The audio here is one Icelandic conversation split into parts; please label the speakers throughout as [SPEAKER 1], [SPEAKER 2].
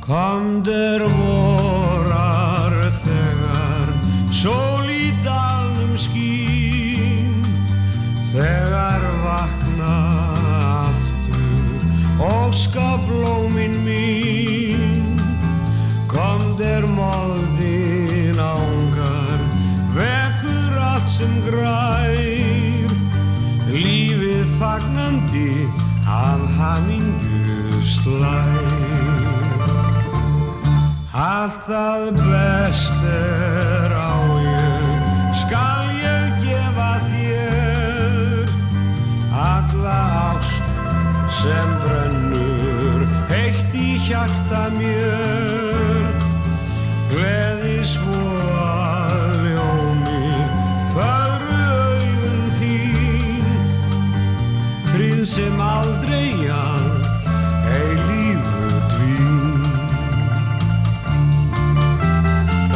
[SPEAKER 1] Komdur vorar þegar sól í dalnum skín Þegar vakna aftur óska blómin mín Komdur moldin ángar vekur allt sem grær Lífið fagnandi af hamingu slær Allt það best er á ég Skal ég gefa þér Alla ást sem brennur Heitt í hjarta mér Gleði svoar ljómi Föru augun þín Tryð sem aldrei ján Ei lífu dvín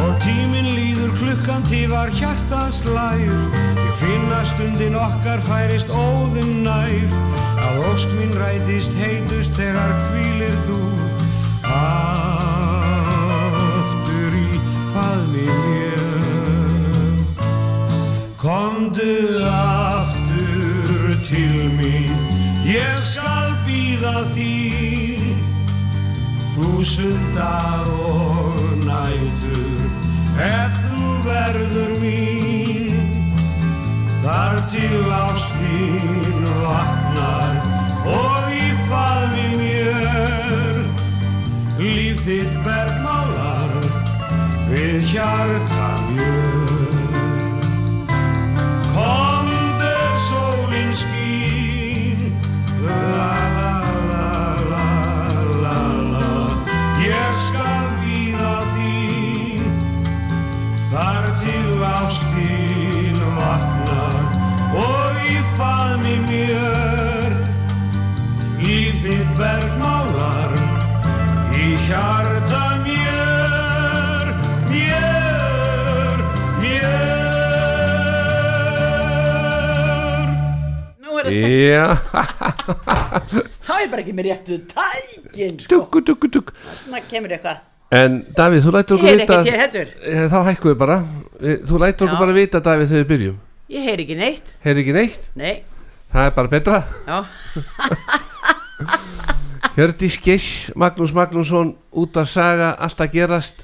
[SPEAKER 1] Og tíminn líður klukkan tífar hjartans lægur Ég finn að stundin okkar færist óðum nær Að ósk minn rætist heitust þegar hvílir þú Aftur í faðmi mér Komdu aftur til mín Ég skal býða þín Þúsund dag og nætur Ef þú verður mín Þar til ástin vaknar Og í faðmi mér Líf þitt bergmálar Við hjarta mjög Kom der sólin skín La la la la la la Ég skal býða þín Þar til ástin vaknar Og í faðmi mér Líf þitt bergmálar Í hjarta mér Mér, mér
[SPEAKER 2] Nu är det...
[SPEAKER 3] Ja,
[SPEAKER 2] Ta ju bara mig rätt ut. Tajen!
[SPEAKER 3] tukku, tukku, tukku.
[SPEAKER 2] Snacka med dig själv.
[SPEAKER 3] En David, þú lætur okkur
[SPEAKER 2] Ég heyri
[SPEAKER 3] vita...
[SPEAKER 2] ekkert, ég heldur.
[SPEAKER 3] Eh, Þá hækkum við bara. Eh, Þú lætur okkur
[SPEAKER 2] Já.
[SPEAKER 3] bara vita, David, þegar við byrjum.
[SPEAKER 2] Jag hör inte neitt.
[SPEAKER 3] Heyri ekki neitt,
[SPEAKER 2] Nej.
[SPEAKER 3] það er bara betra.
[SPEAKER 2] Ja.
[SPEAKER 3] Hjördís Geiss, Magnús Magnússon, út af saga, allt að gerast.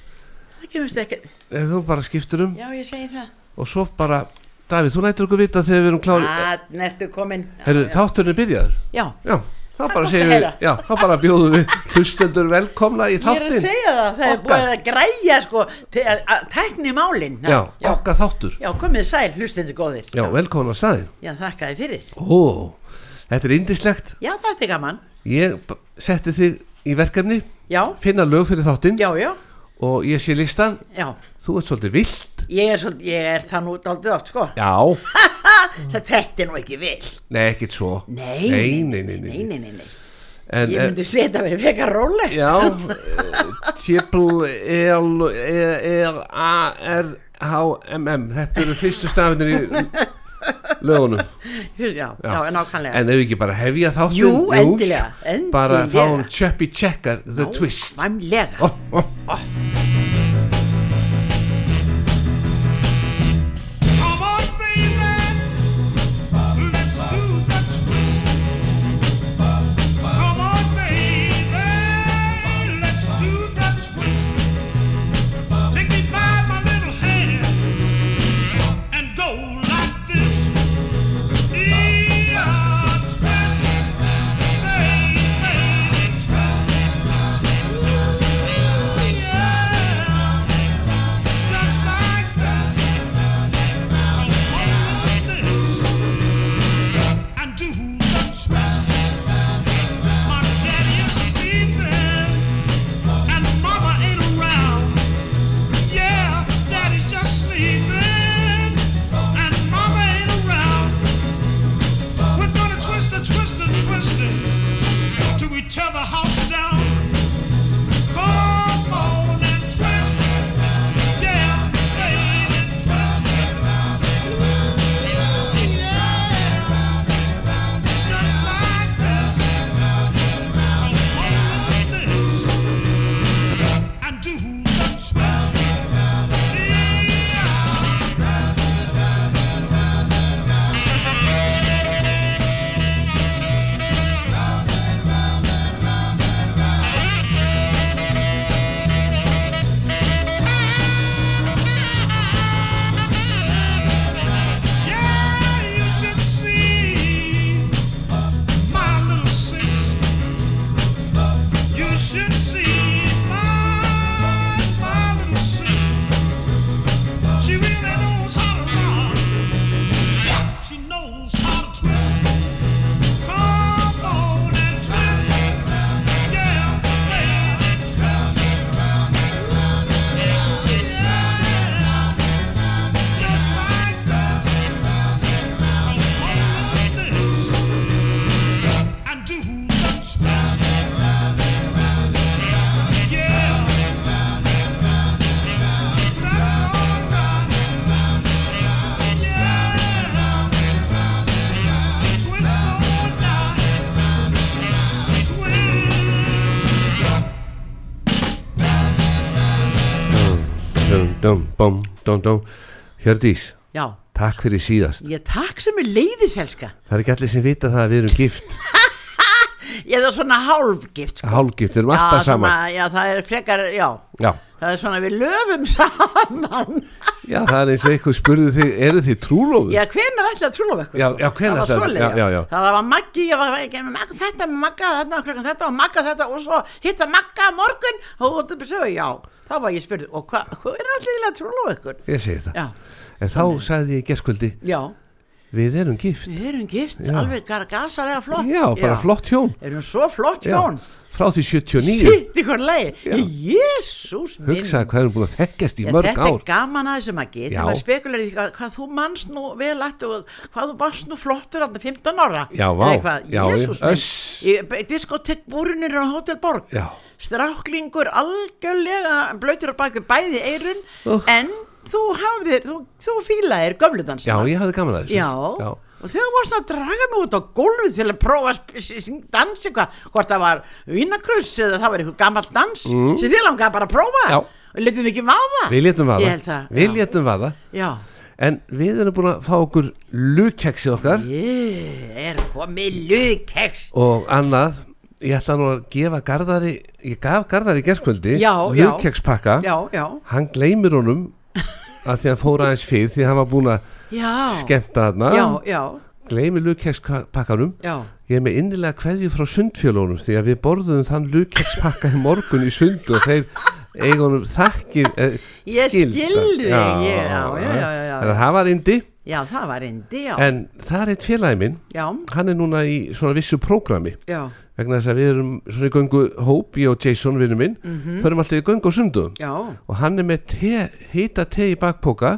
[SPEAKER 2] Det kan vi säkert.
[SPEAKER 3] Eh, Þú bara skiptir um
[SPEAKER 2] Ja, jag säger det.
[SPEAKER 3] og svo bara... David, þú lætur okkur vita þegar við erum klári...
[SPEAKER 2] Ah, när du kommer.
[SPEAKER 3] Herru, þátturinn er byrjaður.
[SPEAKER 2] Ja.
[SPEAKER 3] Já, þá bara
[SPEAKER 2] gott
[SPEAKER 3] segjum
[SPEAKER 2] að
[SPEAKER 3] við,
[SPEAKER 2] heyra.
[SPEAKER 3] já, þá bara bjóðum við hlustendur velkomna í
[SPEAKER 2] Ég er að
[SPEAKER 3] þáttinn.
[SPEAKER 2] segja það, það er
[SPEAKER 3] Okkar.
[SPEAKER 2] búið að græja sko, te- að- að tækni málin.
[SPEAKER 3] Já,
[SPEAKER 2] já,
[SPEAKER 3] okkar þáttur.
[SPEAKER 2] já, komið sæl, hlustendur góðir.
[SPEAKER 3] Já, velkomna á staðinn.
[SPEAKER 2] Já, þakka þið fyrir.
[SPEAKER 3] Ó, þetta er indislegt.
[SPEAKER 2] Já, þetta er gaman.
[SPEAKER 3] Ég b- setti þig í verkefni,
[SPEAKER 2] Já,
[SPEAKER 3] finna lög fyrir þáttinn
[SPEAKER 2] já, já,
[SPEAKER 3] og ég sé listan.
[SPEAKER 2] já.
[SPEAKER 3] Þú ert svolítið vilt.
[SPEAKER 2] Ég er, svolítið, ég er það nú daldið oft, sko.
[SPEAKER 3] Já.
[SPEAKER 2] Það þetta er nú ekki vilt.
[SPEAKER 3] Nei, ekkert svo.
[SPEAKER 2] Nei,
[SPEAKER 3] nei, nei, nei.
[SPEAKER 2] nei, nei, nei, nei.
[SPEAKER 3] En, eh,
[SPEAKER 2] Ég myndi segja þetta verið frekar róleg.
[SPEAKER 3] Já, triple L, E, R, A, R, H, M, M. Þetta eru fyrstu stafinir í lögunum.
[SPEAKER 2] Hús, já, já, já, nákvæmlega.
[SPEAKER 3] En ef við ekki bara hefja þáttum
[SPEAKER 2] Jú, endilega, endilega.
[SPEAKER 3] Bara fá hún Chubby Checker The
[SPEAKER 2] Já,
[SPEAKER 3] Twist
[SPEAKER 2] Væmlega.
[SPEAKER 3] oh, oh.
[SPEAKER 4] Come on, baby, let's do the twist. Come on, baby, let's do the twist. Take me by my little hand and go like this. Yeah, twist, baby, twist. Yeah, just like that. And do the twist. My daddy is sleeping, and mama ain't around. Yeah, daddy's just sleeping, and mama ain't around. We're gonna twist and twist and twist it till we tear the house down. Come on and twist, yeah, baby, twist.
[SPEAKER 3] dum, bum, dum, dum. Hjördís,
[SPEAKER 2] Já,
[SPEAKER 3] takk fyrir síðast.
[SPEAKER 2] ég takk sem er leiðis, elska.
[SPEAKER 3] Það er ekki allir sem vita það að við erum gift,
[SPEAKER 2] Ég er svona hálfgift, sko.
[SPEAKER 3] hálfgift, við erum alltaf saman.
[SPEAKER 2] Já, það er frekar, já,
[SPEAKER 3] Já,
[SPEAKER 2] það er svona við löfum saman.
[SPEAKER 3] já, það er eins og eitthvað spurði þig, eru þið trúlófið?
[SPEAKER 2] Já, hvenær ætlaði að trúlofa ykkur? sko?
[SPEAKER 3] Já, já, hvenær
[SPEAKER 2] það?
[SPEAKER 3] ætlaði-
[SPEAKER 2] var
[SPEAKER 3] já,
[SPEAKER 2] svoleiðis,
[SPEAKER 3] já, já.
[SPEAKER 2] Það var Maggi, ég var ekki með Magga þetta, með Magga þetta, klokkan þetta og Magga þetta og svo hitta Magga á morgun og þú besöðu, já. Þá var ég spurði, og hvað, hvað er allir að trúlofa ykkur?
[SPEAKER 3] Ég segi það.
[SPEAKER 2] Já,
[SPEAKER 3] En þá sagði ég gerskvöldi,
[SPEAKER 2] já,
[SPEAKER 3] við erum gift.
[SPEAKER 2] við erum gift,
[SPEAKER 3] Já.
[SPEAKER 2] alveg gar- gasalega flott.
[SPEAKER 3] Já, bara flott hjón.
[SPEAKER 2] Erum svo flott
[SPEAKER 3] Já,
[SPEAKER 2] hjón.
[SPEAKER 3] frá því 79.
[SPEAKER 2] Sitt ykkur
[SPEAKER 3] Já.
[SPEAKER 2] leið. Jésús minn.
[SPEAKER 3] Hugsaði hvað erum búin að þekkjast í
[SPEAKER 2] Já,
[SPEAKER 3] mörg
[SPEAKER 2] þetta
[SPEAKER 3] ár.
[SPEAKER 2] er gaman að þessu Maggi
[SPEAKER 3] Já.
[SPEAKER 2] þetta var spekulir í hvað, hvað þú manst nú vel að og hvað þú varst nú flottur að 15 ára
[SPEAKER 3] Já, vá.
[SPEAKER 2] Eða hvað,
[SPEAKER 3] Já,
[SPEAKER 2] Jesús minn.
[SPEAKER 3] öss.
[SPEAKER 2] Í b- diskotekbúrunir á Hotel Borg
[SPEAKER 3] Já.
[SPEAKER 2] stráklingur algjörlega blöytur á baku bæði eirun
[SPEAKER 3] Úff.
[SPEAKER 2] en þú hafðir, þú, þú fílaðir gömludans
[SPEAKER 3] Já, ég hafði gaman að þessu.
[SPEAKER 2] Já. og þegar þú varst að draga mig út á gólfið til að prófa að sp- s- s- dans eitthvað, hvort það var vinakrus eða það var eitthvað gammal dans sem þið langaði bara að prófa
[SPEAKER 3] Mm. Já.
[SPEAKER 2] og letum við ekki vaða
[SPEAKER 3] Við létum vaða.
[SPEAKER 2] Ah, Ég held það,
[SPEAKER 3] Við
[SPEAKER 2] já.
[SPEAKER 3] létum vaða.
[SPEAKER 2] Já,
[SPEAKER 3] En við erum búin að fá okkur lukkeksið okkar
[SPEAKER 2] ég er komið lukeks
[SPEAKER 3] og annað. Ég ætla nú að gefa Garðari, ég gaf Garðari gerskvöldi
[SPEAKER 2] Já, já.
[SPEAKER 3] lukkekspakka.
[SPEAKER 2] Já, já,
[SPEAKER 3] Hann gleymir honum að því að hann fór aðeins fyrr því að hann var búin að
[SPEAKER 2] já
[SPEAKER 3] skemmta þarna.
[SPEAKER 2] Já, já,
[SPEAKER 3] Gleymir lukkekspakkanum.
[SPEAKER 2] já
[SPEAKER 3] Ég er með innilega kveðju frá sundfjölunum því að við borðum þann lukkekspakka í morgun í sund og þeir eigunum þakkir eh,
[SPEAKER 2] Ég
[SPEAKER 3] skilda.
[SPEAKER 2] skildi þig, ég- já, já, já, já, já.
[SPEAKER 3] En það var indi,
[SPEAKER 2] Já, það var endi, já
[SPEAKER 3] en það er eitt félagi minn,
[SPEAKER 2] Já,
[SPEAKER 3] hann er núna í svona vissu prógrami
[SPEAKER 2] já,
[SPEAKER 3] vegna þess að við erum svona í göngu hóp, ég og Jason vinnu minn, förum alltaf í göngu og sundu
[SPEAKER 2] Mhm. já
[SPEAKER 3] og hann er með te, hýta te í bakpoka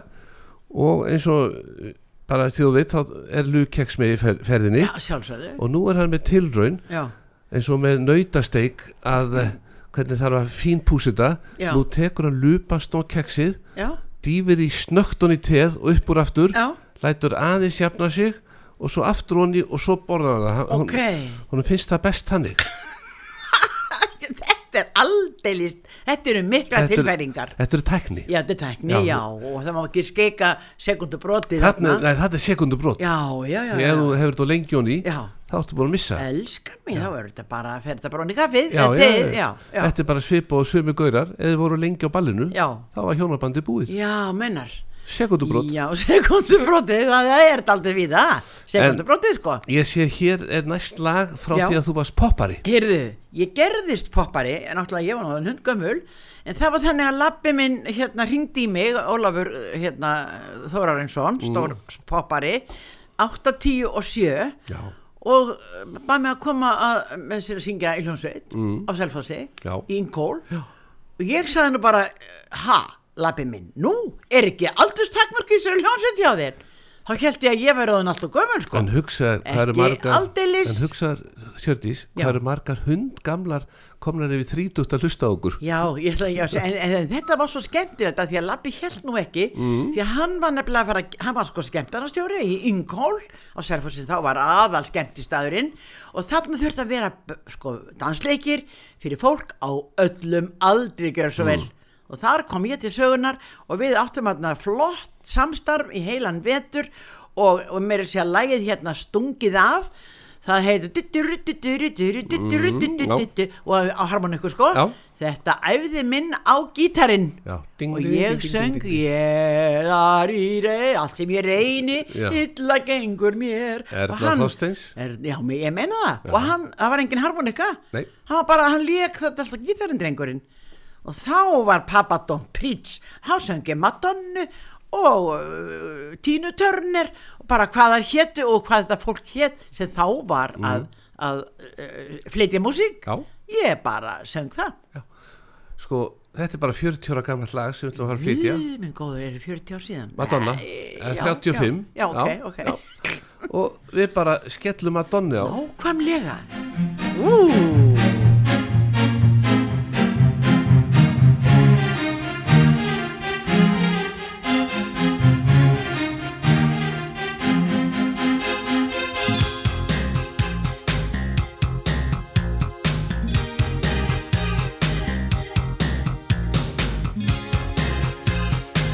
[SPEAKER 3] og eins og eh, bara til þú veit þá er lukkeks með í fer, ferðinni
[SPEAKER 2] Já, sjálfsögðu
[SPEAKER 3] og nú er hann með tilraun
[SPEAKER 2] Já,
[SPEAKER 3] eins og með nautasteik að eh, hvernig þarf að fínpúsa
[SPEAKER 2] Já.
[SPEAKER 3] þetta nú tekur hann lupast á keksið
[SPEAKER 2] já,
[SPEAKER 3] dýfir í snögtun í teð og upp úr aftur
[SPEAKER 2] já
[SPEAKER 3] lætur aðeins jafna sig og svo aftur honni og svo borðar hann það.
[SPEAKER 2] Ok,
[SPEAKER 3] hún, hún finnst það best þannig
[SPEAKER 2] þetta er aldeilis Þetta eru mikla
[SPEAKER 3] Þetta er-
[SPEAKER 2] tilfæringar
[SPEAKER 3] þetta er tækni
[SPEAKER 2] Já, þetta er tækni,
[SPEAKER 3] Já.
[SPEAKER 2] já, og það má ekki skeika sekundu brotið
[SPEAKER 3] Þarna, nei, þetta er sekundubrót
[SPEAKER 2] Já, já, já,
[SPEAKER 3] ef þú
[SPEAKER 2] já,
[SPEAKER 3] hefur þetta lengi honni
[SPEAKER 2] já.
[SPEAKER 3] þá ertu búin að missa
[SPEAKER 2] Elskar mig, þá er þetta bara fer þetta bara onni kaffið eh,
[SPEAKER 3] Já, já,
[SPEAKER 2] til-
[SPEAKER 3] já.
[SPEAKER 2] já, já,
[SPEAKER 3] þetta er bara svipa og sömu gaurar eða þið voru lengi á ballinu
[SPEAKER 2] já,
[SPEAKER 3] þá var hjónabandi búið
[SPEAKER 2] já, mennar
[SPEAKER 3] sekundubrót
[SPEAKER 2] Já, sekundubrótið, það er aldrei við það Sekundubrótið sko
[SPEAKER 3] ég sé hér er næst lag frá
[SPEAKER 2] Já.
[SPEAKER 3] því að þú varst poppari
[SPEAKER 2] Heyrðu, ég gerðist poppari en náttúrulega ég var náttúrulega hundgömmul en það var þannig að labbi minn hérna hringdi í mig, Ólafur hérna Þórarinsson, stór poppari 8, 10 og 7
[SPEAKER 3] já,
[SPEAKER 2] og eh, bað mig að koma að, með sér að syngja í hljónsveit á Selfossi,
[SPEAKER 3] Mm. Já.
[SPEAKER 2] í Inkól og ég sagði henni bara ha, labbi minn, nú er ekki aldurstakmark í sér hljónsveit hjá þér þá held ég að ég verið orðin alltaf gömul sko.
[SPEAKER 3] en hugsaðar hvað eru
[SPEAKER 2] Ekki
[SPEAKER 3] margar
[SPEAKER 2] aldeilis.
[SPEAKER 3] en hugsaðar, Hjördís,
[SPEAKER 2] Já.
[SPEAKER 3] hvað eru margar hund gamlar komnar yfir þrítugt að hlusta á okkur
[SPEAKER 2] Já, ég ætla ekki að segja, en, en þetta var svo skemmtilegt að því að Lappi held nú ekki, því að hann var nefnilega að fara, hann var sko skemmtarnastjóri í Ingól á Sérfossi, þá var aðal skemmtistæðurinn og þarna þurfti að vera b- sko dansleikir fyrir fólk á öllum aldri gjör svo vel og þar kom ég til sögunar og við áttum aðna flott samstarf í heilan vetur og, og mér er sér að lagið hérna stungið af, það heitir dittur, dittur, dittur, dittur, dittur,
[SPEAKER 3] já.
[SPEAKER 2] dittur, og á harmoniku sko
[SPEAKER 3] Já.
[SPEAKER 2] þetta æfði minn á gítarinn
[SPEAKER 3] já, ding,
[SPEAKER 2] og
[SPEAKER 3] ding, ding,
[SPEAKER 2] ég
[SPEAKER 3] ding,
[SPEAKER 2] söng
[SPEAKER 3] ding, ding.
[SPEAKER 2] ég þar í rey allt sem ég reyni,
[SPEAKER 3] Já.
[SPEAKER 2] illa gengur mér
[SPEAKER 3] Erla
[SPEAKER 2] Og hann-
[SPEAKER 3] Þorsteins?
[SPEAKER 2] er, já, me- ég meina það og hann, það var engin harmonika
[SPEAKER 3] Nei.
[SPEAKER 2] hann var bara, hann lék þetta alltaf gítarinn drengurinn og þá var pappa Don Pritz þá söng ég Madonnu og uh, Tínu Törner og bara hvað þær hétu og hvað þetta fólk hét sem þá var að, að uh, flytja músík
[SPEAKER 3] Mhm. já,
[SPEAKER 2] ég bara söng það
[SPEAKER 3] sko, þetta er bara 40 ára gammal lag sem við ætlum að fara að flytja
[SPEAKER 2] Guð minn góður, eru 40 ár síðan?
[SPEAKER 3] Madonna,
[SPEAKER 2] Nei,
[SPEAKER 3] eh,
[SPEAKER 2] já,
[SPEAKER 3] 35.
[SPEAKER 2] Já, já ok,
[SPEAKER 3] Já,
[SPEAKER 2] ok
[SPEAKER 3] já. og við bara skellum að donni á
[SPEAKER 2] Nákvæmlega Ú,
[SPEAKER 4] Thank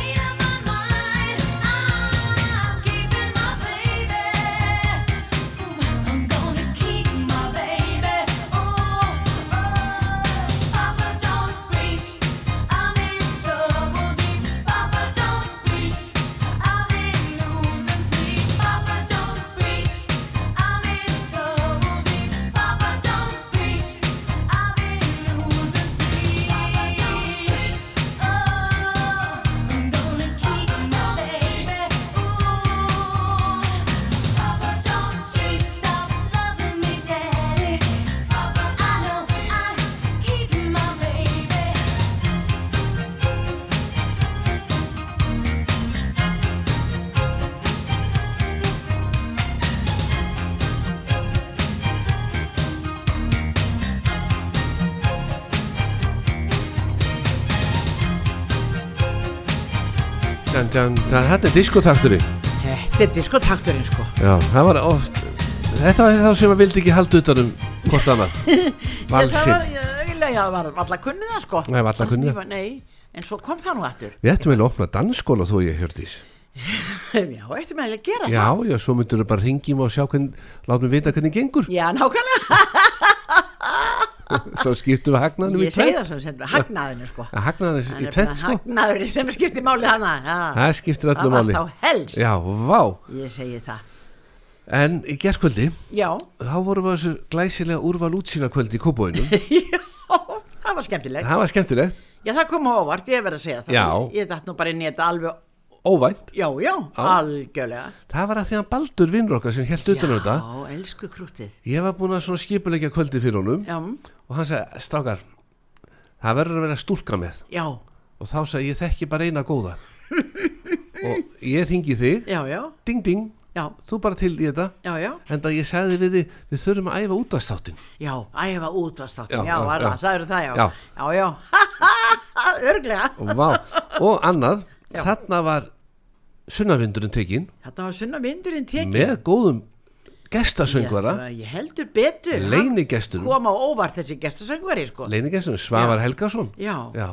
[SPEAKER 4] Oh,
[SPEAKER 3] dun, dun. Það er hætti diskotaktur í
[SPEAKER 2] Þetta er diskotakturinn sko
[SPEAKER 3] Já, það var oft Þetta var þá sem að vildi ekki halda utan um hvort annað
[SPEAKER 2] Það var,
[SPEAKER 3] Valsinn
[SPEAKER 2] eiginlega, ég var allar kunnið það sko
[SPEAKER 3] Nei, varla
[SPEAKER 2] Fannst
[SPEAKER 3] kunni
[SPEAKER 2] ég
[SPEAKER 3] það.
[SPEAKER 2] var- Nei, en svo kom það nú aftur
[SPEAKER 3] Við ættum eiginlega að opna dansskóla þó ég hjördís
[SPEAKER 2] Já, eftir með að gera
[SPEAKER 3] Já,
[SPEAKER 2] það
[SPEAKER 3] já, svo myndur við bara ringjum og sjá hvernig Látum við vita hvernig gengur
[SPEAKER 2] Já, nákvæmlega,
[SPEAKER 3] Svo skiptum við hagnaðinu í
[SPEAKER 2] ég segi það
[SPEAKER 3] tvennt
[SPEAKER 2] sem sem hagnaðinu sko
[SPEAKER 3] Að Hagnaðinu
[SPEAKER 2] Hann
[SPEAKER 3] í
[SPEAKER 2] er bara
[SPEAKER 3] tvennt sko
[SPEAKER 2] hagnaðurinn sem skiptir málið hana já.
[SPEAKER 3] Það skiptir öllu
[SPEAKER 2] Ah. Það var
[SPEAKER 3] máli
[SPEAKER 2] þá helst,
[SPEAKER 3] Já, vá
[SPEAKER 2] ég segi það
[SPEAKER 3] En í gerkvöldi
[SPEAKER 2] Já,
[SPEAKER 3] Þá vorum við á þessu glæsilega úrval útsýna kvöldi í kóbóinu
[SPEAKER 2] Já, það var skemmtilegt
[SPEAKER 3] Það var skemmtilegt
[SPEAKER 2] Já, það kom á óvart, ég verð að segja það
[SPEAKER 3] Já.
[SPEAKER 2] Ég dætt nú bara inn í þetta alveg
[SPEAKER 3] Óvænt
[SPEAKER 2] Já, já, algjörlega
[SPEAKER 3] Það var að því að Baldur vinnur okkar sem held utan á þetta
[SPEAKER 2] Já, elsku krútið
[SPEAKER 3] Ég var búin að svona skipulegja kvöldi fyrir honum
[SPEAKER 2] Já,
[SPEAKER 3] og hann sagði, strákar það verður að vera stúlka með
[SPEAKER 2] já,
[SPEAKER 3] og þá sagði ég þekki bara eina góða og ég þingi þig
[SPEAKER 2] já, já,
[SPEAKER 3] ding ding,
[SPEAKER 2] já,
[SPEAKER 3] þú bara til í þetta
[SPEAKER 2] já, já
[SPEAKER 3] en það ég sagði við þig, við þurfum að æfa útastáttin
[SPEAKER 2] Já, æfa útvarstáttin,
[SPEAKER 3] Já,
[SPEAKER 2] já,
[SPEAKER 3] já,
[SPEAKER 2] alla,
[SPEAKER 3] já.
[SPEAKER 2] það eru það, já
[SPEAKER 3] Já.
[SPEAKER 2] já, já. örglega
[SPEAKER 3] og, vá. og annað,
[SPEAKER 2] Já.
[SPEAKER 3] þarna var sunnavindurinn tekinn
[SPEAKER 2] Þetta var sunna myndurinn tekið
[SPEAKER 3] með góðum gestasöngvara
[SPEAKER 2] Ég heldur betur Hann
[SPEAKER 3] leinigestunum
[SPEAKER 2] kom á óvart þessi gestasöngvari sko
[SPEAKER 3] leinigestunum, Svavar
[SPEAKER 2] Já.
[SPEAKER 3] Helgason
[SPEAKER 2] Já,
[SPEAKER 3] já,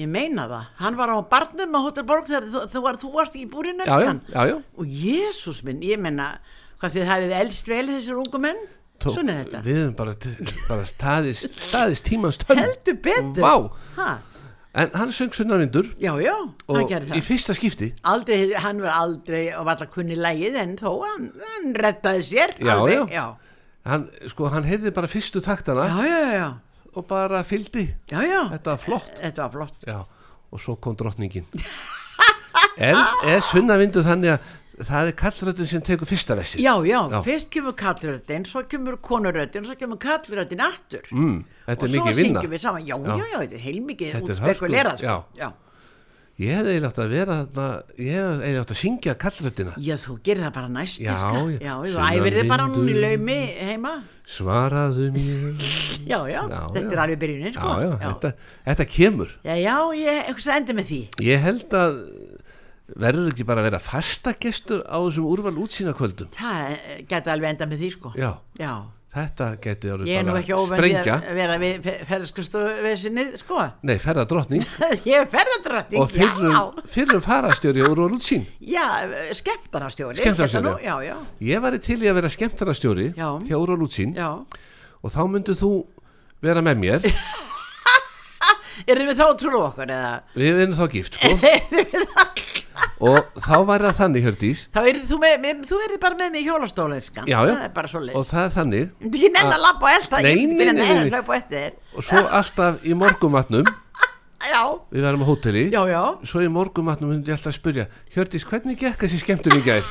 [SPEAKER 2] ég meina það. Hann var á barnum á Hotel Borg þegar þú, þú, var, þú varst í búrinu,
[SPEAKER 3] já, já,
[SPEAKER 2] elskan.
[SPEAKER 3] já, já.
[SPEAKER 2] Og Jésús minn, ég meina, hvað þið hafið elst vel þessir ungu menn?
[SPEAKER 3] Tó-
[SPEAKER 2] Svona er þetta.
[SPEAKER 3] við hefum bara, bara staðist, staðist tímans tönn
[SPEAKER 2] Heldur betur.
[SPEAKER 3] Vá.
[SPEAKER 2] Ha,
[SPEAKER 3] en hann söng sunnavindur
[SPEAKER 2] já, já, hann
[SPEAKER 3] og
[SPEAKER 2] gerði
[SPEAKER 3] í
[SPEAKER 2] það.
[SPEAKER 3] fyrsta skipti
[SPEAKER 2] Aldrei, hann var aldrei og var alltaf kunni lægið en þó hann, hann rettaði sér.
[SPEAKER 3] Já,
[SPEAKER 2] alveg,
[SPEAKER 3] já.
[SPEAKER 2] já.
[SPEAKER 3] hann, sko, hann heyrði bara fyrstu taktana
[SPEAKER 2] Já, já, já,
[SPEAKER 3] og bara fylgdi
[SPEAKER 2] já, já.
[SPEAKER 3] þetta var flott
[SPEAKER 2] Þetta var flott.
[SPEAKER 3] já. og svo kom drottningin en er sunnavindur þannig að það er kallröðin sem tekur fyrsta vessi
[SPEAKER 2] Já, já,
[SPEAKER 3] Já.
[SPEAKER 2] fyrst kemur kallröddin, svo kemur konuröddin, svo kemur kallröddin aftur.
[SPEAKER 3] mm, þetta er mikið
[SPEAKER 2] Og svo syngjum
[SPEAKER 3] vinna
[SPEAKER 2] við saman, já,
[SPEAKER 3] Já.
[SPEAKER 2] já, já, þetta er heilmikið
[SPEAKER 3] Þetta er
[SPEAKER 2] útspekulerað,
[SPEAKER 3] hörku,
[SPEAKER 2] sko. Já.
[SPEAKER 3] ég hefði eiginlega átt að vera þarna ég hefði eiginlega átt að syngja kallröðina
[SPEAKER 2] Já, þú gerir það bara næst,
[SPEAKER 3] Já,
[SPEAKER 2] diska.
[SPEAKER 3] já.
[SPEAKER 2] Já, þú
[SPEAKER 3] Sunnan
[SPEAKER 2] æfir þið bara núna í
[SPEAKER 3] vindur.
[SPEAKER 2] laumi heima.
[SPEAKER 3] svaraðu mér
[SPEAKER 2] Já, já,
[SPEAKER 3] Já,
[SPEAKER 2] þetta
[SPEAKER 3] já.
[SPEAKER 2] er alveg byrjunin, sko.
[SPEAKER 3] já, já, Þetta, þetta kemur
[SPEAKER 2] Já, já, ég, eitthvað sem endur með því.
[SPEAKER 3] ég held að verður ekki bara að vera fasta gestur á þessum úrval útsýna kvöldum
[SPEAKER 2] Það eh, gæti alveg enda með því, sko.
[SPEAKER 3] já,
[SPEAKER 2] Já.
[SPEAKER 3] þetta geti orðið
[SPEAKER 2] Ég er nú
[SPEAKER 3] bara
[SPEAKER 2] ekki óvenni
[SPEAKER 3] sprengja
[SPEAKER 2] að vera við ferðarskristofinnið, sko.
[SPEAKER 3] nei, ferða drottning
[SPEAKER 2] ég er ferðardrötting,
[SPEAKER 3] og fyrrum,
[SPEAKER 2] já.
[SPEAKER 3] fyrrum farastjóri á úrval útsýn
[SPEAKER 2] Já, eh, skemmtarastjóri.
[SPEAKER 3] Skemmtanastjóri,
[SPEAKER 2] hérna nú, Já, já,
[SPEAKER 3] ég væri til í að vera skemmtarastjóri
[SPEAKER 2] Já.
[SPEAKER 3] hjá úrval útsýn
[SPEAKER 2] já.
[SPEAKER 3] og þá myndir þú vera með mér
[SPEAKER 2] Erum við þá að trú okkur eða?
[SPEAKER 3] við erum þá gift sko. og þá væri það þannig Hjördís
[SPEAKER 2] Þá er þú með, með, þú er bara með mig í hjólastóleinskan.
[SPEAKER 3] Já, já.
[SPEAKER 2] Það er bara svo
[SPEAKER 3] og það er þannig
[SPEAKER 2] Ég myndi ekki nefn að lappa á elda,
[SPEAKER 3] Nei,
[SPEAKER 2] ég myndi
[SPEAKER 3] nei,
[SPEAKER 2] ekki nefn
[SPEAKER 3] nei, nei,
[SPEAKER 2] að
[SPEAKER 3] nei.
[SPEAKER 2] hlaupa á eftir þér.
[SPEAKER 3] og svo alltaf í morgumatnum
[SPEAKER 2] Já,
[SPEAKER 3] við verðum á hóteli
[SPEAKER 2] já, já.
[SPEAKER 3] svo í morgumatnum myndi ég alltaf að spyrja Hjördís, hvernig gekk þessi skemmtun í gær?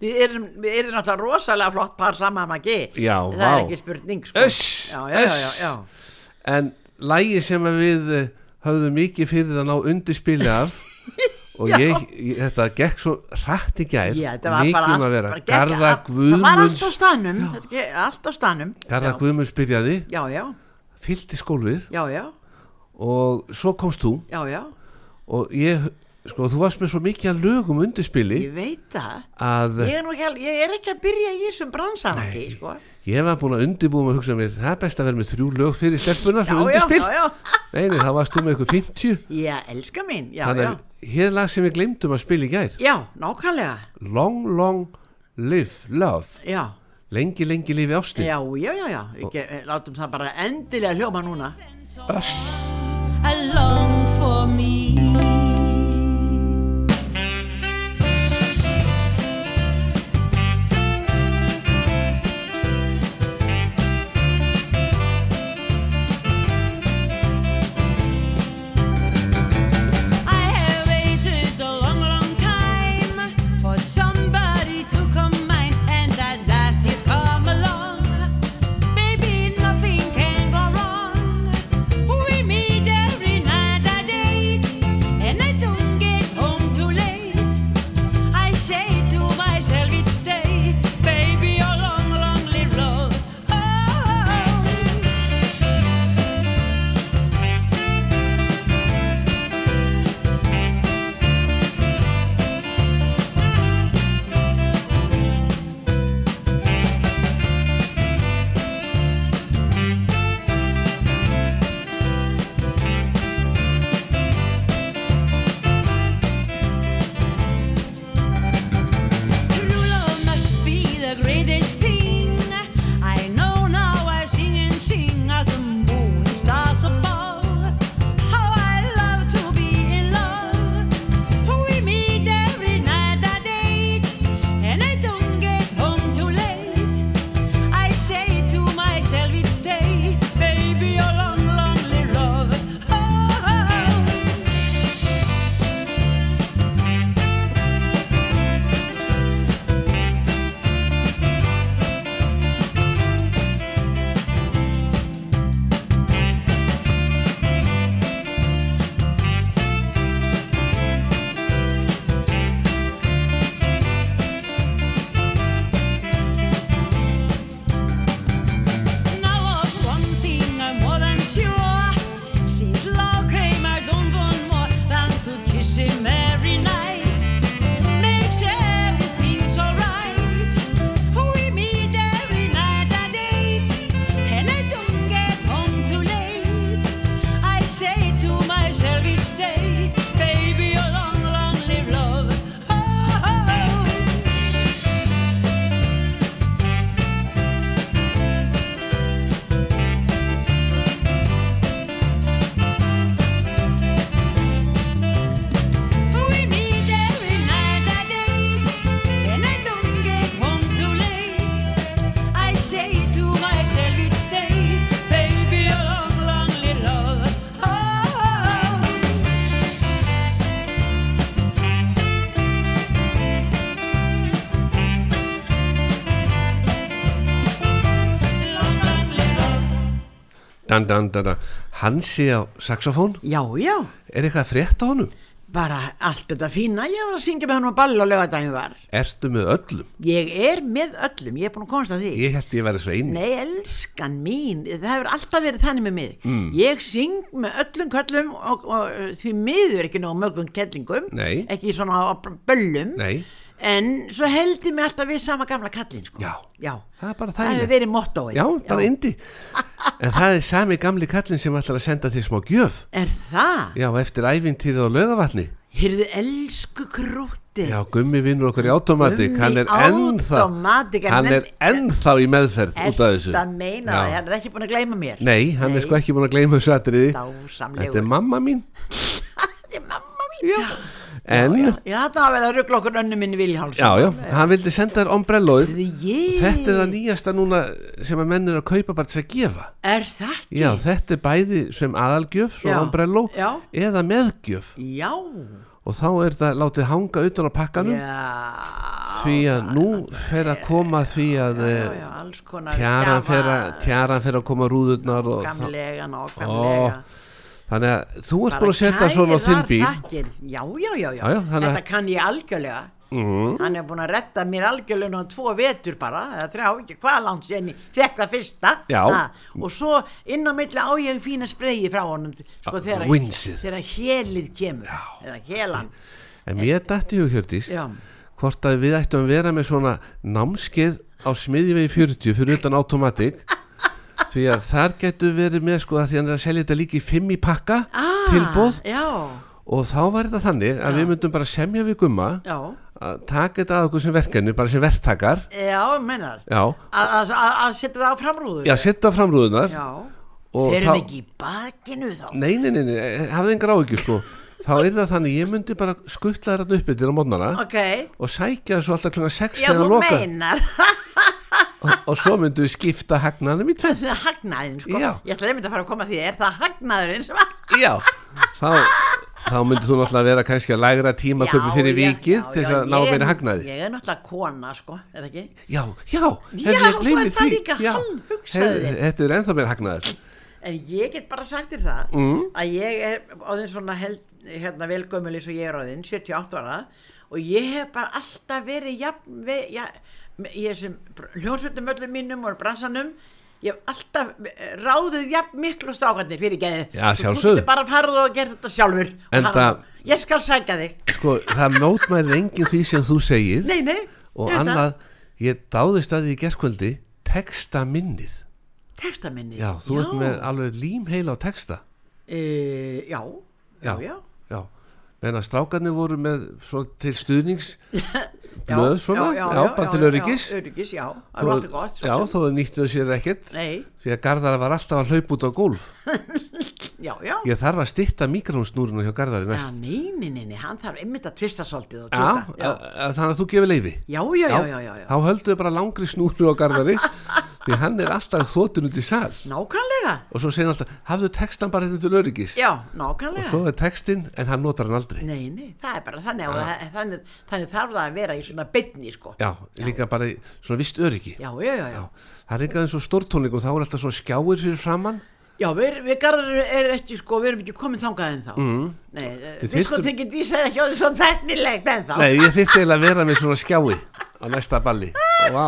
[SPEAKER 2] Við erum, við erum náttúrulega rosalega flott par saman að maður
[SPEAKER 3] Já,
[SPEAKER 2] það
[SPEAKER 3] vá.
[SPEAKER 2] er ekki spurning, sko.
[SPEAKER 3] Uss,
[SPEAKER 2] já, já, já, já,
[SPEAKER 3] uss.
[SPEAKER 2] já.
[SPEAKER 3] en lægi sem að við eh, höfðum mikið fyrir að ná undirspili af og ég, ég, þetta gekk svo rætt í gær
[SPEAKER 2] Já, þetta var
[SPEAKER 3] mikið
[SPEAKER 2] bara
[SPEAKER 3] um að
[SPEAKER 2] allt,
[SPEAKER 3] vera
[SPEAKER 2] bara gekk
[SPEAKER 3] Garða
[SPEAKER 2] allt- Það var allt á
[SPEAKER 3] Guðmunds
[SPEAKER 2] stanum, þetta ge- allt á stanum.
[SPEAKER 3] Garða
[SPEAKER 2] Já.
[SPEAKER 3] Guðmunds byrjaði,
[SPEAKER 2] Já, já,
[SPEAKER 3] fyllti skólfið
[SPEAKER 2] já, já,
[SPEAKER 3] og svo komst þú
[SPEAKER 2] já, já,
[SPEAKER 3] og ég, sko, þú varst með svo mikið að lögum undirspili
[SPEAKER 2] ég veit það.
[SPEAKER 3] að
[SPEAKER 2] Ég er, nú ekki, al- ég er ekki að byrja í þessum bransanaki, sko.
[SPEAKER 3] ég var búin að undirbúa með að hugsa mér, það er best að vera með þrjú lög fyrir stelpuna
[SPEAKER 2] Já,
[SPEAKER 3] svo
[SPEAKER 2] já,
[SPEAKER 3] undirspil
[SPEAKER 2] já, já.
[SPEAKER 3] Nei, nei, þá varst þú með ykkur 50
[SPEAKER 2] Já, elska mín, já,
[SPEAKER 3] Þannig
[SPEAKER 2] já.
[SPEAKER 3] að hér er lag sem við glemdum að spila í gær
[SPEAKER 2] Já, nákvæmlega,
[SPEAKER 3] Long, long, live, love
[SPEAKER 2] já.
[SPEAKER 3] Lengi, lengi lifi ástin
[SPEAKER 2] Já, já, já, já, Við ge- eh, látum það bara endilega hljóma núna.
[SPEAKER 5] along for me. I have waited a long, long time for somebody to come mine, and at last he's come along. Baby, nothing can go wrong. We meet every night at eight. Oh, Oh, oh, oh,
[SPEAKER 3] dan, dan, dan, dan. Hann sé á saxofón
[SPEAKER 2] Já, já,
[SPEAKER 3] Er eitthvað að frétta honum?
[SPEAKER 2] bara allt þetta fína, ég var að syngja með hann á ball og lögadaginn var.
[SPEAKER 3] Ertu með öllum?
[SPEAKER 2] Ég er með öllum, ég er búin að komast að því.
[SPEAKER 3] Ég held ég verið svein
[SPEAKER 2] Nei, elskan mín, það hefur alltaf verið þannig með mig.
[SPEAKER 3] Mm.
[SPEAKER 2] Ég syng með öllum köllum og, og því miður ekki nóg mögum kellingum,
[SPEAKER 3] Nei.
[SPEAKER 2] ekki svona á böllum,
[SPEAKER 3] Nei.
[SPEAKER 2] en svo held ég mig alltaf við sama gamla kallin, sko.
[SPEAKER 3] Já.
[SPEAKER 2] Já,
[SPEAKER 3] Það er bara
[SPEAKER 2] það hefur
[SPEAKER 3] þægilegt
[SPEAKER 2] verið mottóið.
[SPEAKER 3] Já, bara indi En það er sami gamli kallinn sem ætlar að senda þér smá gjöf
[SPEAKER 2] Er það?
[SPEAKER 3] Já, eftir æfintýrið á laugavatni
[SPEAKER 2] Hyrðu elsku krúti.
[SPEAKER 3] Já, Gummi vinnur okkur í automatik
[SPEAKER 2] Gummi
[SPEAKER 3] Hann er ennþá
[SPEAKER 2] Automatic,
[SPEAKER 3] Hann er ennþá í meðferð út af þessu
[SPEAKER 2] Þetta meina það,
[SPEAKER 3] Já.
[SPEAKER 2] hann er ekki búin að gleyma mér.
[SPEAKER 3] Nei, hann er sko ekki búin að gleyma þessu atriði
[SPEAKER 2] Dásamlegur.
[SPEAKER 3] Þetta er mamma mín
[SPEAKER 2] Þetta er mamma mín.
[SPEAKER 3] Já, en Já,
[SPEAKER 2] Já, þetta hafa verið að ruggla okkur önnu minni Viljáls.
[SPEAKER 3] já, hann vildi senda þér ombrellóð
[SPEAKER 2] Ég...
[SPEAKER 3] Þetta er það nýjasta núna sem að menn er að kaupa bara til að gefa
[SPEAKER 2] Er það ekki?
[SPEAKER 3] Já, þetta er bæði sem aðalgjöf svo
[SPEAKER 2] Já,
[SPEAKER 3] ombrelló
[SPEAKER 2] já.
[SPEAKER 3] eða meðgjöf
[SPEAKER 2] Já,
[SPEAKER 3] og þá er þetta látið hanga utan á pakkanum
[SPEAKER 2] já,
[SPEAKER 3] því að nú fer að koma því að
[SPEAKER 2] já,
[SPEAKER 3] eh,
[SPEAKER 2] já, alls konar
[SPEAKER 3] tjaran
[SPEAKER 2] gjafar,
[SPEAKER 3] fer að tjaran fer að koma rúðurnar og þá-
[SPEAKER 2] Gamlega, nákvæmlega
[SPEAKER 3] þannig að þú ert
[SPEAKER 2] Bara
[SPEAKER 3] búin að setja svona á þinn
[SPEAKER 2] kærar
[SPEAKER 3] bíl
[SPEAKER 2] þakkir. Já, já, já, já,
[SPEAKER 3] Já, já, þannig að-
[SPEAKER 2] Þetta kann ég algjörlega mm. Hann er búin að retta mér algjörlega núna tvo vetur bara, eða þrjá, ekki hvað langt sér fekk það fyrsta
[SPEAKER 3] Já.
[SPEAKER 2] Og svo inn á milli á ég fína spreyi frá honum sko,
[SPEAKER 3] Ah,
[SPEAKER 2] þegar,
[SPEAKER 3] winsið.
[SPEAKER 2] þegar helið kemur já. eða helan
[SPEAKER 3] en mér dætti hug Hjördís
[SPEAKER 2] Já,
[SPEAKER 3] hvort að við ættum að vera með svona námskeið á smiðjivegi 40 fyrir utan automatik því að þar getur verið með sko að því að hann er að selja þetta líka í 5 í pakka
[SPEAKER 2] ah,
[SPEAKER 3] tilbúð
[SPEAKER 2] Já,
[SPEAKER 3] og þá var þetta þannig að við myndum bara semja við gumma
[SPEAKER 2] já, Eh,
[SPEAKER 3] að taka þetta að okkur sem verkefni bara sem verktakar
[SPEAKER 2] já, mennar
[SPEAKER 3] já,
[SPEAKER 2] Að- að að- að setja það á framrúðu
[SPEAKER 3] já setja framrúðunar
[SPEAKER 2] já.
[SPEAKER 3] og
[SPEAKER 2] þeir
[SPEAKER 3] þá-
[SPEAKER 2] eru ekki í bakinu þá
[SPEAKER 3] nei, nei, nei, nei, hafði engar áhyggjur sko þá er það þannig, ég myndi bara skuttla þetta upp yfir á mótnana
[SPEAKER 2] ok,
[SPEAKER 3] og sækja þessu alltaf klunna 6
[SPEAKER 2] já þú
[SPEAKER 3] þegar loka
[SPEAKER 2] meinar
[SPEAKER 3] og, og svo myndum við skipta hagnanum í tvenn
[SPEAKER 2] hagnaðin sko,
[SPEAKER 3] Já.
[SPEAKER 2] ég ætla einmitt að fara að koma að því er það hagnaðurinn sem að
[SPEAKER 3] Já, þá, þá myndir þú náttúrulega vera kannski að lægra tímaköpi
[SPEAKER 2] Já,
[SPEAKER 3] fyrir
[SPEAKER 2] já,
[SPEAKER 3] vikið
[SPEAKER 2] já,
[SPEAKER 3] til þess
[SPEAKER 2] já,
[SPEAKER 3] að ná
[SPEAKER 2] ég-
[SPEAKER 3] meira hagnaði.
[SPEAKER 2] ég er náttúrulega kona sko, er það ekki
[SPEAKER 3] Já, já,
[SPEAKER 2] Já,
[SPEAKER 3] hefði ég
[SPEAKER 2] svo
[SPEAKER 3] gleymið
[SPEAKER 2] er það
[SPEAKER 3] því.
[SPEAKER 2] líka,
[SPEAKER 3] Já,
[SPEAKER 2] hann hugsaði
[SPEAKER 3] hefði-
[SPEAKER 2] þig.
[SPEAKER 3] Þetta er ennþá meira hagnaður.
[SPEAKER 2] en ég get bara sagt þér það
[SPEAKER 3] Mm.
[SPEAKER 2] að ég er áðin svona held, hérna, velgömmul eins og ég er áðin, 78 ára og ég hef bara alltaf verið jafn, ve, ja, ég er sem hljónsvöldum öllum mínum og bransanum ég hef alltaf eh, ráðið jafn miklu og stákarnir fyrir geðið
[SPEAKER 3] Já,
[SPEAKER 2] þú
[SPEAKER 3] sjálfsögðu.
[SPEAKER 2] getur bara farið og gert þetta sjálfur Og
[SPEAKER 3] Enda-
[SPEAKER 2] hann- ég skal sækja þig
[SPEAKER 3] Sko, það mótmælir enginn því sem þú segir
[SPEAKER 2] nei, nei,
[SPEAKER 3] og
[SPEAKER 2] ég veit það.
[SPEAKER 3] annað, ég dáðist að því í gerkvöldi, texta minnið.
[SPEAKER 2] textaminni
[SPEAKER 3] Já, þú ert með alveg límheila á texta.
[SPEAKER 2] Eh, já, já, já.
[SPEAKER 3] Já, menn að strákarnir voru með svona til stuðnings blöð svona, já, bara til öryggis.
[SPEAKER 2] já, öryggis, já, það var alltaf gott svo
[SPEAKER 3] Já,
[SPEAKER 2] sem.
[SPEAKER 3] þó nýttu sér ekkert.
[SPEAKER 2] Nei,
[SPEAKER 3] Því að Garðar var alltaf að hlaupa út á gólf.
[SPEAKER 2] já, já.
[SPEAKER 3] Ég þarf að stitta mikrónsnúruna hjá Garðari
[SPEAKER 2] Já,
[SPEAKER 3] næst.
[SPEAKER 2] nei, nei, nei, nei, hann þarf einmitt að tvista svolítið og
[SPEAKER 3] Já,
[SPEAKER 2] tjóta. Já,
[SPEAKER 3] að- að- þannig að þú gefur leifi.
[SPEAKER 2] já, já, já, já, já, já.
[SPEAKER 3] Þá höldum við bara langri snúru á Garðari því hann er alltaf þóttun út í sal.
[SPEAKER 2] Nákvæmlega,
[SPEAKER 3] Og svo segir hann alltaf, hafðu textan bara þetta til öryggis.
[SPEAKER 2] já,
[SPEAKER 3] Og
[SPEAKER 2] nákvæmlega.
[SPEAKER 3] svo er textin, en hann notar hann aldrei.
[SPEAKER 2] Nei, nei, það er bara þannig, og það- þannig, þannig þarf það að vera í svona bytni, sko.
[SPEAKER 3] Já, líka bara í svona vist öryggi.
[SPEAKER 2] Já, já, já, já.
[SPEAKER 3] Já, Það er eitthvað eins og stórtónleikum, þá er alltaf svona skjáir fyrir framann.
[SPEAKER 2] Já, við, við garðar er ekki, sko, við erum ekki komin þangað en þá. Mm. Nei, við, við sko
[SPEAKER 3] þyrftum-
[SPEAKER 2] tekið dísað ekki á því svona þeknilegt en þá.
[SPEAKER 3] Nei, ég þyrfti eiginlega að vera með svona skjái á næsta balli. Vá,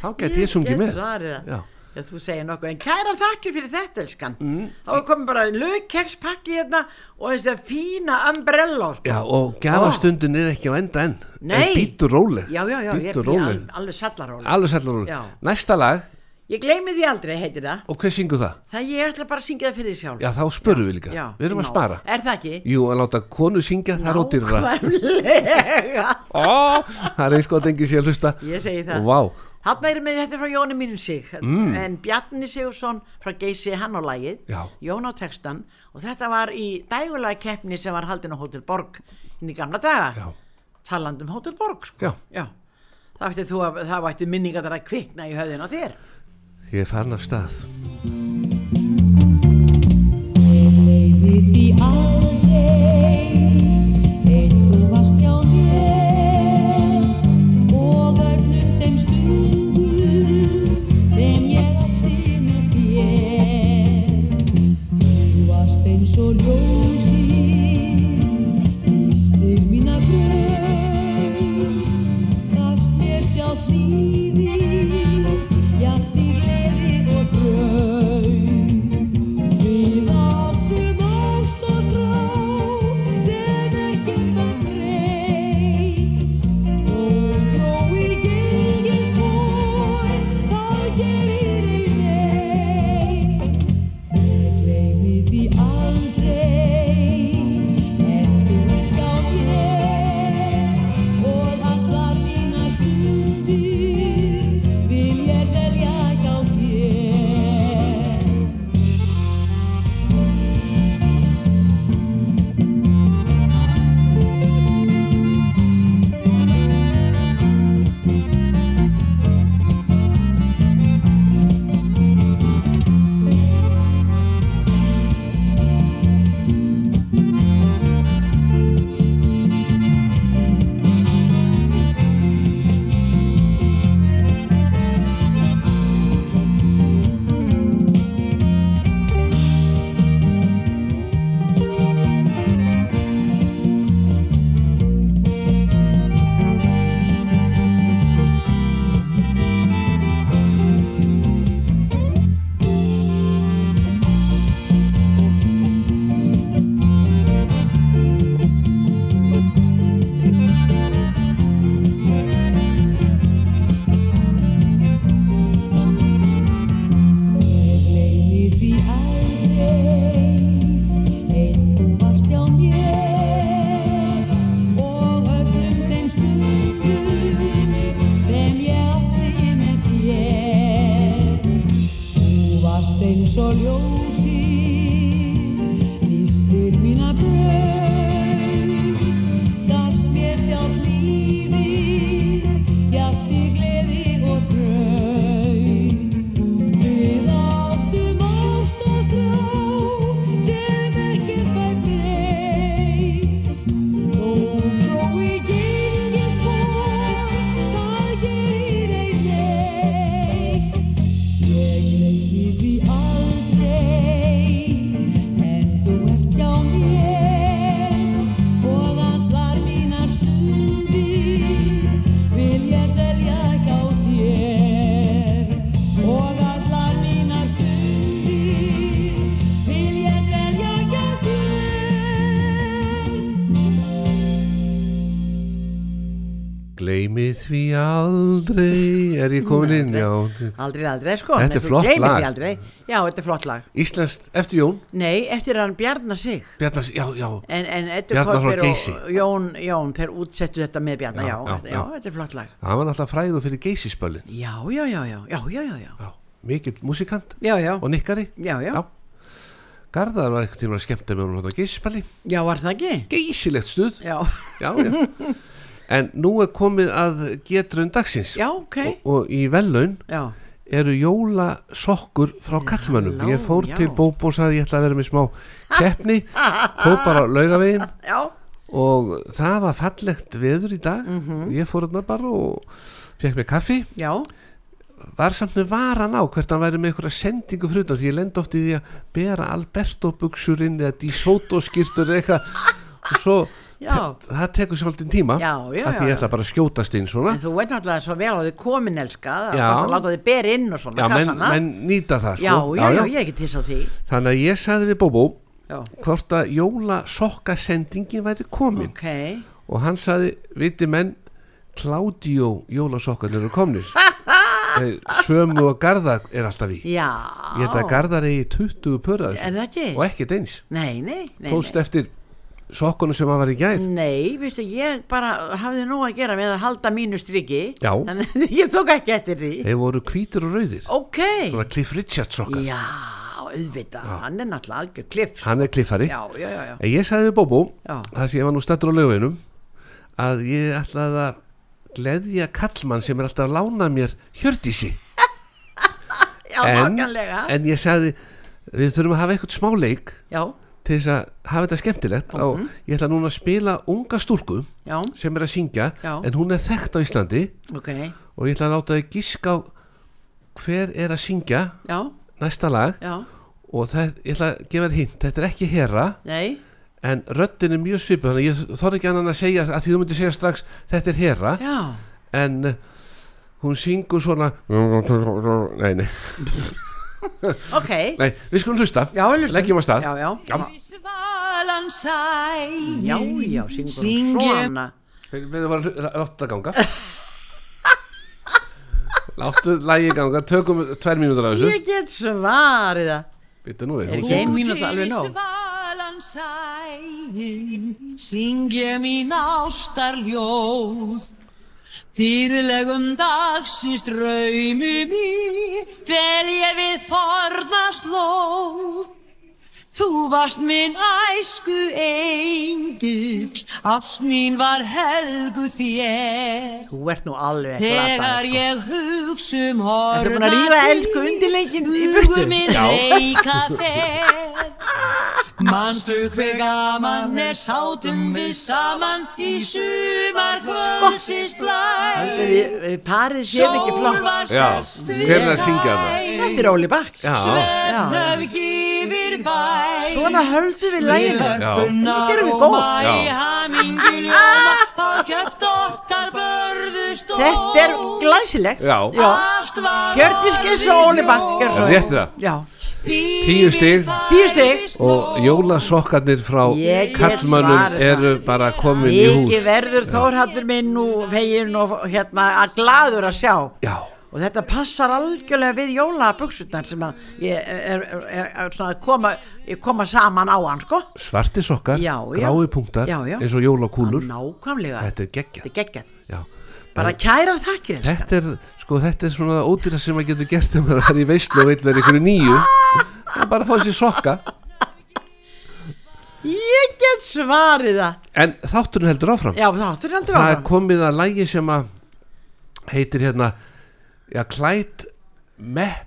[SPEAKER 3] þá get ég sungið með.
[SPEAKER 2] svarið það.
[SPEAKER 3] Já.
[SPEAKER 2] Já, þú segir nokkuð, en kæra þakkir fyrir þetta, elskan. Mm. Þá er komin bara lögkekspakki hérna og þessi fína umbrella, sko.
[SPEAKER 3] Já, og gafastundin er ekki á enda enn
[SPEAKER 2] Nei.
[SPEAKER 3] En býttu róleg
[SPEAKER 2] Já, já, já, ég
[SPEAKER 3] Býttu
[SPEAKER 2] er al,
[SPEAKER 3] róleg
[SPEAKER 2] alveg sallaróleg.
[SPEAKER 3] Alveg sætla róleg
[SPEAKER 2] Já.
[SPEAKER 3] Næsta lag,
[SPEAKER 2] Ég gleymi því aldrei, heitir það.
[SPEAKER 3] og hver syngur það?
[SPEAKER 2] Það ég ætla bara að syngja það fyrir því sjálf.
[SPEAKER 3] Já, þá spörum við líka Við erum að
[SPEAKER 2] ná.
[SPEAKER 3] spara
[SPEAKER 2] Er það ekki?
[SPEAKER 3] Jú, að láta konu syngja, það er ódýrra
[SPEAKER 2] Nákvæmlega.
[SPEAKER 3] Ó, það er eins gott engi sé að hlusta
[SPEAKER 2] Ég segi það.
[SPEAKER 3] Og vá,
[SPEAKER 2] Þarna er með þetta er frá Jóni mínum sig, mm. en Bjarni Sigursson frá Geysi hann á lagið,
[SPEAKER 3] Já.
[SPEAKER 2] Jón á textan og þetta var í dægulega keppni sem var haldin á Hotel Borg hinn í gamla daga,
[SPEAKER 3] já,
[SPEAKER 2] talandi um Hotel Borg sko.
[SPEAKER 3] já
[SPEAKER 2] Það vætti þú að, það vætti minningar þar að kvikna í höfðin á þér.
[SPEAKER 3] Ég er farin af stað
[SPEAKER 5] Við því aldrei Eitthvað varst hjá mér Og öllum þeim stundum Sem ég átti með þér
[SPEAKER 3] Gleimi því aldrei Er ég komin inn, já
[SPEAKER 2] Aldrei, aldrei, sko.
[SPEAKER 3] Þetta
[SPEAKER 2] en
[SPEAKER 3] er
[SPEAKER 2] þú
[SPEAKER 3] flott
[SPEAKER 2] gleymir
[SPEAKER 3] lag.
[SPEAKER 2] því aldrei. Já, þetta er flott lag.
[SPEAKER 3] Íslenskt, eftir Jón
[SPEAKER 2] Nei, eftir að hann bjarnar sig.
[SPEAKER 3] Bjarnas, já, já
[SPEAKER 2] En, en Eddu
[SPEAKER 3] Bjarnar frá
[SPEAKER 2] Kolber
[SPEAKER 3] Geysi.
[SPEAKER 2] og Jón, Jón, þeir útsettu þetta með Bjarnar,
[SPEAKER 3] Já,
[SPEAKER 2] já,
[SPEAKER 3] já,
[SPEAKER 2] já, já,
[SPEAKER 3] já.
[SPEAKER 2] þetta er flott lag.
[SPEAKER 3] Hann var náttúrulega frægur fyrir geisispölin
[SPEAKER 2] Já, já, já, já, já, já, já, já,
[SPEAKER 3] Já, mikill musikant
[SPEAKER 2] já, já,
[SPEAKER 3] og nikkari
[SPEAKER 2] já, já,
[SPEAKER 3] Garðar var eitthvað tíma að skemmta með honum á geisispöli
[SPEAKER 2] já, var það ekki?
[SPEAKER 3] Geisilegt stuð
[SPEAKER 2] Já,
[SPEAKER 3] Já, já En nú er komið að getrun dagsins
[SPEAKER 2] já, ok,
[SPEAKER 3] Og, og í vellaun
[SPEAKER 2] já,
[SPEAKER 3] eru jólasokkur frá kallmönnum
[SPEAKER 2] halló,
[SPEAKER 3] Ég fór
[SPEAKER 2] já.
[SPEAKER 3] til Bóbo og sagði ég ætla að vera með smá keppni Fór bara á laugavegin
[SPEAKER 2] já,
[SPEAKER 3] og það var fallegt veður í dag Ég fór hérna bara og fekk mér kaffi
[SPEAKER 2] Mhm. já,
[SPEAKER 3] Var samt með varan á hvert hann væri með einhverja sendingu frutan Því ég lendi oft í því að bera Alberto buksur inn eða Disoto skýrtur eða eitthvað Og svo,
[SPEAKER 2] Já.
[SPEAKER 3] te það tekur sér haldin tíma
[SPEAKER 2] Já, já,
[SPEAKER 3] Af Því
[SPEAKER 2] já,
[SPEAKER 3] ég ætla bara að skjótast inn svona
[SPEAKER 2] en þú veit náttúrulega svo vel á því komin elskað,
[SPEAKER 3] Já.
[SPEAKER 2] að láta þið bera inn og svona
[SPEAKER 3] Já, menn,
[SPEAKER 2] kassana.
[SPEAKER 3] menn nýta það sko
[SPEAKER 2] já, já, já, ég er ekki til á því,
[SPEAKER 3] Þannig að ég sagði við Bóbó
[SPEAKER 2] já,
[SPEAKER 3] hvort að jólasokkasendingin væri komin
[SPEAKER 2] ok,
[SPEAKER 3] og hann sagði, viti menn Claudio jólasokkarnir eru komnir Eh, sömu og Garðar er alltaf í
[SPEAKER 2] já.
[SPEAKER 3] ég held að Garðar eigi 20 pöra
[SPEAKER 2] Er það ekki?
[SPEAKER 3] og ekkert eins
[SPEAKER 2] Nei, nei, nei,
[SPEAKER 3] tókst
[SPEAKER 2] nei.
[SPEAKER 3] eftir sokkunum sem hann var í gær
[SPEAKER 2] Nei, veistu, ég bara hafði nóg að gera með að halda mínu striki
[SPEAKER 3] Já.
[SPEAKER 2] Þannig að ég tók ekki eftir því
[SPEAKER 3] þeir voru hvítur og rauðir
[SPEAKER 2] Ok
[SPEAKER 3] svona Cliff Richard sokkar
[SPEAKER 2] Já, auðvitað, hann er náttúrulega algjör kliff sko.
[SPEAKER 3] hann er kliffari
[SPEAKER 2] Já, já, já, já
[SPEAKER 3] en ég sagði við Bobo
[SPEAKER 2] Já.
[SPEAKER 3] það sem ég var nú stættur á lögveginum að ég ætlaði að gleðja kallmann sem er alltaf að lána mér Hjördísi
[SPEAKER 2] Já,
[SPEAKER 3] en,
[SPEAKER 2] nákvæmlega
[SPEAKER 3] en ég sagði við þurfum að hafa eitthvað smá leik
[SPEAKER 2] Já, Mhm.
[SPEAKER 3] til þess að hafa þetta skemmtilegt og ég ætla núna að spila unga stúlku
[SPEAKER 2] já,
[SPEAKER 3] sem er að syngja
[SPEAKER 2] Já.
[SPEAKER 3] en hún er þekkt á Íslandi
[SPEAKER 2] ok Já,
[SPEAKER 3] og ég ætla að láta þið gíska á hver er að syngja næsta lag
[SPEAKER 2] já,
[SPEAKER 3] og það, ég ætla að gefa þér hint þetta er ekki herra
[SPEAKER 2] nei
[SPEAKER 3] en röddin er mjög svipuð þannig að ég þorði ekki annan að segja að því þú myndir segja strax þetta er herra
[SPEAKER 2] Já,
[SPEAKER 3] en uh, hún syngur svona nei, nei,
[SPEAKER 2] ok
[SPEAKER 3] nei, við skulum hlusta
[SPEAKER 2] Já, við hlustum.
[SPEAKER 3] leggjum að stað
[SPEAKER 2] Já, já,
[SPEAKER 3] Já.
[SPEAKER 5] Svalan sæ
[SPEAKER 2] já, já, syngur
[SPEAKER 5] Syng
[SPEAKER 2] hún
[SPEAKER 5] ég-
[SPEAKER 2] svona
[SPEAKER 3] Við við varum að hlu- láta það ganga Láttu lægi ganga Tökum tvær mínútur af þessu
[SPEAKER 2] Ég get svarið það
[SPEAKER 3] Býttu nú við
[SPEAKER 2] Er
[SPEAKER 3] hún
[SPEAKER 2] ekki ein
[SPEAKER 3] syngur.
[SPEAKER 2] mínúta alveg nóg?
[SPEAKER 5] svalan sæin Syng ég mín ástarljóð Dýrlegum dagsins draumi mý Dvel ég við fornast lóð Þú varst minn æsku engill Ást mín var helgu þér
[SPEAKER 2] Þú ert nú alveg
[SPEAKER 5] Þegar
[SPEAKER 2] glatað, sko.
[SPEAKER 5] ég hugsa um
[SPEAKER 2] Ertu
[SPEAKER 5] horna
[SPEAKER 2] búin að rífa elsku undirleikinn í burtu?
[SPEAKER 5] Hugur minn leika þér Manstu hver gaman er sátum við saman Í sumar kvöldsins blæ
[SPEAKER 2] Ætli við- við eh, Parið séð ekki flott
[SPEAKER 3] Já, hver er að syngja
[SPEAKER 2] Þetta er Óli Bakk
[SPEAKER 3] Já,
[SPEAKER 5] Svefnöf gifir bæ
[SPEAKER 2] Svona höldum við lægina
[SPEAKER 5] Hörpunar
[SPEAKER 2] Þetta eru
[SPEAKER 5] og
[SPEAKER 2] góð.
[SPEAKER 5] mæ
[SPEAKER 3] Já.
[SPEAKER 5] Haminguljóma Þá kjöpt okkar börðustól
[SPEAKER 2] Þetta er glæsilegt
[SPEAKER 3] já,
[SPEAKER 2] Já.
[SPEAKER 5] Allt var
[SPEAKER 2] Hjördís Geirs og Óli Bakk Geirsson.
[SPEAKER 3] rétti það
[SPEAKER 2] Já,
[SPEAKER 3] Tíu stig.
[SPEAKER 2] Tíu stig.
[SPEAKER 3] Og jólasokkarnir frá
[SPEAKER 2] Ég get
[SPEAKER 3] kallmönnum
[SPEAKER 2] svarið það.
[SPEAKER 3] eru bara komin í
[SPEAKER 2] Mikið
[SPEAKER 3] hús
[SPEAKER 2] verður Þórhaldur minn og fegin og hérna að glaður að sjá
[SPEAKER 3] Já,
[SPEAKER 2] og þetta passar algjörlega við jólabuxurnar sem að ég er, er, er, er svona að koma, ég koma saman á hann sko
[SPEAKER 3] svarti sokkar,
[SPEAKER 2] Já, já.
[SPEAKER 3] grái punktar
[SPEAKER 2] Já, já.
[SPEAKER 3] eins og jólakúlur
[SPEAKER 2] Nákvæmlega,
[SPEAKER 3] Þetta er geggja
[SPEAKER 2] þetta er geggjað
[SPEAKER 3] Bara
[SPEAKER 2] Bara kærar þakkir elskan.
[SPEAKER 3] Þetta er, sko, þetta er svona ódýra sem maður getur gert um að það er í veislu og vill verið einhverju nýju Það er bara að fá sér sokka
[SPEAKER 2] Ég get svarið það
[SPEAKER 3] En þátturinn heldur áfram
[SPEAKER 2] Já, þáttur er aldrei
[SPEAKER 3] það er
[SPEAKER 2] áfram
[SPEAKER 3] komið að lægi sem að heitir hérna já, Clyde Mepp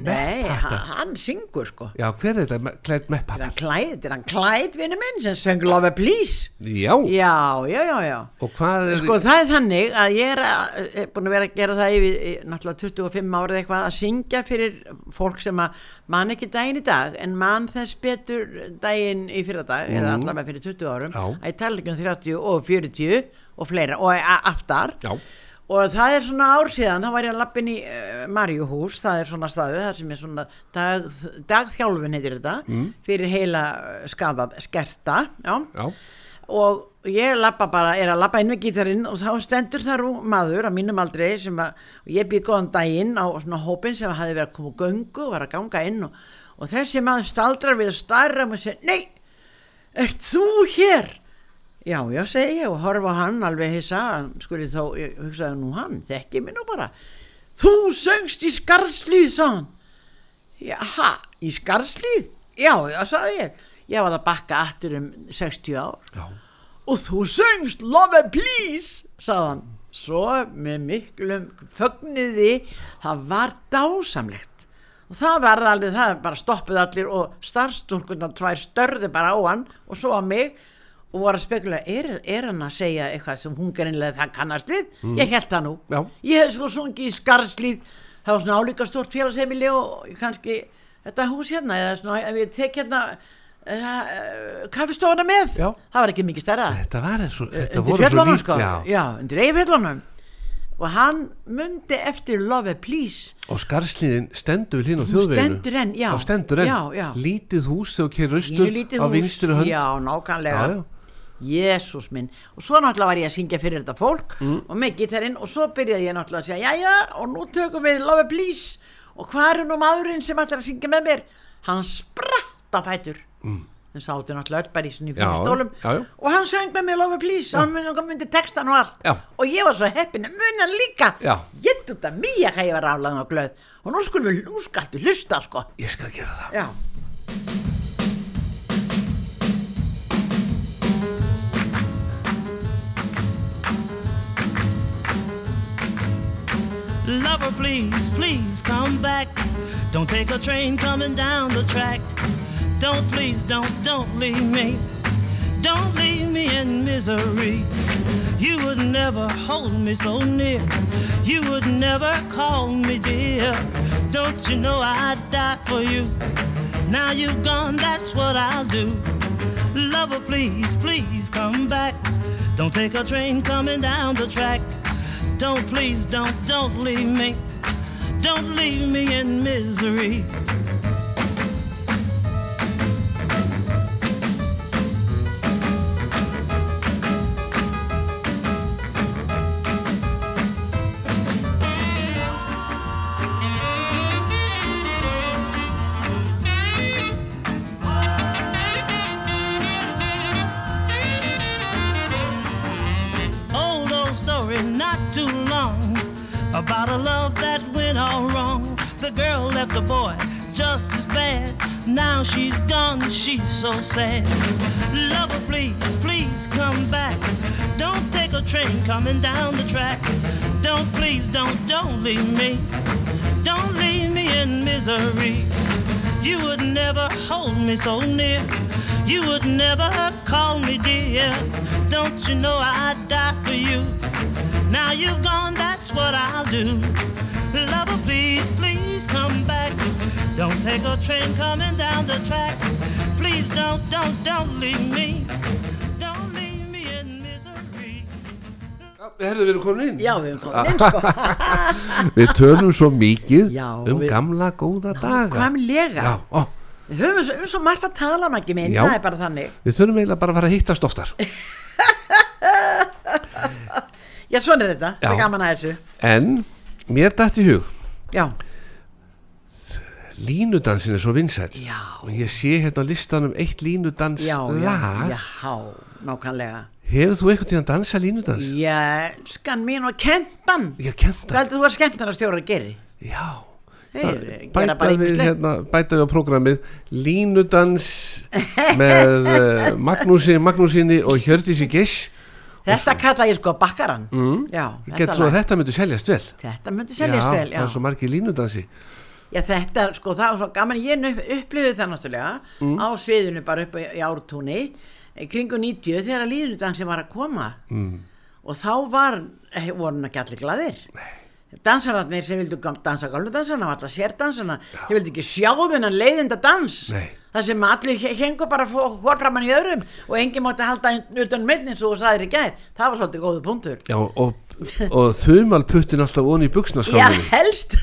[SPEAKER 2] Nei, hann, hann syngur sko
[SPEAKER 3] já, hver er þetta? Me- Clyde Mepp
[SPEAKER 2] Þetta er hann Clyde, þetta er hann Clyde vinnu minn sem söng Love Please
[SPEAKER 3] já,
[SPEAKER 2] Já, já, já, já
[SPEAKER 3] og hvað er
[SPEAKER 2] Sko það er þannig að ég er, að, er búin að vera að gera það yfir í náttúrulega 25 árið eitthvað að syngja fyrir fólk sem að man ekki daginn í dag en man þess betur daginn í fyrir dag eða allavega fyrir 20 árum
[SPEAKER 3] Mhm. Já.
[SPEAKER 2] að ég tala ekki um 30 og 40 og fleira og a- aftar
[SPEAKER 3] já,
[SPEAKER 2] og það er svona ár síðan þá var ég að lappin í uh, Marjuhús það er svona staðu, það sem er svona dag, dagþjálfun heitir þetta fyrir heila uh, skafa, eh, skerta já
[SPEAKER 3] já,
[SPEAKER 2] og ég lappa bara, er að lappa inn við gítarinn og þá stendur þar ung maður á mínum aldrei sem að, og ég byrði góðan daginn á svona hópin sem hafði verið að koma úr göngu og var að ganga inn og, og þessi maður staldrar við og starra og segir, nei, ert þú hér? Já, já, segi ég og horfa á hann alveg hissa, hann skuli þá, ég hugsaði nú hann, þekki mig nú bara. Þú söngst í skarslíð, sá hann. Jaha, í Skarslíð? Já, já, sagði ég. Ég var að bakka aftur um 60 ár.
[SPEAKER 3] Já.
[SPEAKER 2] Og þú söngst Love and Please, sagði hann. Svo með miklum fögniði, það var dásamlegt. Og það var alveg það, bara stoppuð allir og starfstúrkundan tvær störðu bara á hann og svo á mig og voru að spekula, er, er hann að segja eitthvað sem hún gerinlega það kannast við? Ég held það nú.
[SPEAKER 3] Já.
[SPEAKER 2] Ég hef svo sungið í Skarslíð, það var svona álíka stort félagsheimili og kannski þetta hús hérna, eða svona, ef ég tek hérna uh, kaffistofuna með,
[SPEAKER 3] Já.
[SPEAKER 2] það var ekki mikið stærra.
[SPEAKER 3] Þetta var eins og Þetta
[SPEAKER 2] Undir
[SPEAKER 3] voru svo
[SPEAKER 2] fjöllunum,
[SPEAKER 3] lík
[SPEAKER 2] sko.
[SPEAKER 3] já.
[SPEAKER 2] Já, undir eigafjöllunum. Og hann mundi eftir Love and Please,
[SPEAKER 3] Og skarslíðin stendur við hlýna á
[SPEAKER 2] Hún
[SPEAKER 3] þjóðveginu
[SPEAKER 2] stendur enn, já.
[SPEAKER 3] Og stendur enn
[SPEAKER 2] Já, já.
[SPEAKER 3] Lítið hús þegar keirir austur
[SPEAKER 2] Pínu lítið
[SPEAKER 3] Á
[SPEAKER 2] hús.
[SPEAKER 3] vinstri hönd
[SPEAKER 2] Já, nákvæmlega.
[SPEAKER 3] já, já.
[SPEAKER 2] Jésús minn. Og svo náttúrulega var ég að syngja fyrir þetta fólk og með gitarinn og svo byrjaði ég náttúrulega að segja, jæja, og nú tökum við Love and Please og hvað er nú maðurinn sem ætlar að syngja með mér? Hann spratt á fætur. Mm. Þeim sátu náttúrulega öll bara í svona í
[SPEAKER 3] Já,
[SPEAKER 2] fyrir stólum
[SPEAKER 3] já, já.
[SPEAKER 2] og hann söng með mér Love and Please og hann myndi, hann myndi textan og allt
[SPEAKER 3] Já.
[SPEAKER 2] og ég var svo heppin að muni hann líka.
[SPEAKER 3] Já.
[SPEAKER 2] Ég þetta mýja hvað ég var aflaðan og glöð og nú skulum við, nú skaltu hlusta sko.
[SPEAKER 3] Ég skal gera það
[SPEAKER 2] Já.
[SPEAKER 6] Lover, please, please come back. Don't take a train coming down the track. Don't, please, don't, don't leave me. Don't leave me in misery. You would never hold me so near. You would never call me dear. Don't you know I'd die for you? Now you've gone, that's what I'll do. Lover, please, please come back. Don't take a train coming down the track. Don't, please, don't, don't leave me. Don't leave me in misery. old old story not too long about a love that went all wrong the girl left the boy just as bad now she's gone she's so sad lover please please come back don't take a train coming down the track don't please don't don't leave me don't leave me in misery you would never hold me so near. You would never call me dear. Don't you know I'd die for you? Now you've gone, that's what I'll do. Lover, please, please come back. Don't take a train coming down the track. Please don't, don't, don't leave me. Don't leave me in misery.
[SPEAKER 3] Herðu, við erum komin inn
[SPEAKER 2] Já, við erum komin inn sko.
[SPEAKER 3] Við tölum svo mikið
[SPEAKER 2] Já,
[SPEAKER 3] um
[SPEAKER 2] við-
[SPEAKER 3] gamla góða daga
[SPEAKER 2] Hvaðlega?
[SPEAKER 3] Já, ó,
[SPEAKER 2] Við höfum svo, um svo margt að tala mækki minn,
[SPEAKER 3] Já.
[SPEAKER 2] það er bara þannig.
[SPEAKER 3] við þurfum eiginlega bara að fara að hittast oftar
[SPEAKER 2] Já, svona er þetta, það
[SPEAKER 3] Já.
[SPEAKER 2] er gaman að þessu.
[SPEAKER 3] En, mér dætt í hug
[SPEAKER 2] Já,
[SPEAKER 3] Línudansin er svo vinsæll
[SPEAKER 2] Já.
[SPEAKER 3] Og ég sé hérna á listanum eitt línudans
[SPEAKER 2] já,
[SPEAKER 3] lag
[SPEAKER 2] já, já, nákvæmlega.
[SPEAKER 3] Hefur þú einhvern tíðan dansa línudans?
[SPEAKER 2] Já, skan mín og kentan.
[SPEAKER 3] Ég kent
[SPEAKER 2] Hvað
[SPEAKER 3] það
[SPEAKER 2] heldur þú að skemmtana stjóra gerir?
[SPEAKER 3] Já
[SPEAKER 2] Þeir
[SPEAKER 3] Það-
[SPEAKER 2] gera
[SPEAKER 3] Bæta
[SPEAKER 2] bara
[SPEAKER 3] við,
[SPEAKER 2] ýmislegt.
[SPEAKER 3] hérna, bæta við á prógramið Línudans með uh, Magnúsi Magnúsinni og Hjördísi Giss
[SPEAKER 2] Þetta kalla ég sko bakkaran. Mm. Já,
[SPEAKER 3] Getur
[SPEAKER 2] þetta,
[SPEAKER 3] svo að
[SPEAKER 2] lag.
[SPEAKER 3] þetta myndi seljast vel
[SPEAKER 2] þetta myndi selja
[SPEAKER 3] Já,
[SPEAKER 2] stel,
[SPEAKER 3] það er svo
[SPEAKER 2] já.
[SPEAKER 3] margir línudansi
[SPEAKER 2] Já, þetta, sko, það var svo gaman, ég nu- upplifði það náttúrulega
[SPEAKER 3] Mm.
[SPEAKER 2] á sviðinu bara upp í, í ártúni, í kringu 90 þegar líðunudansin var að koma. Mm. Og þá var, eh, voru hann ekki allir glaðir. Nei. dansararnir sem vildu gam- dansa gálfudansana og alla sérdansana þeir vildu ekki sjá um hennan leiðinda dans
[SPEAKER 3] Nei.
[SPEAKER 2] það sem allir he- hengu bara hvort framann í öðrum og enginn mátti halda utan meitnin svo og sagðir í gær það var svolítið góðu punktur
[SPEAKER 3] Já, og, og þumal puttin alltaf onni í
[SPEAKER 2] já
[SPEAKER 3] buksnaskálinni
[SPEAKER 2] helst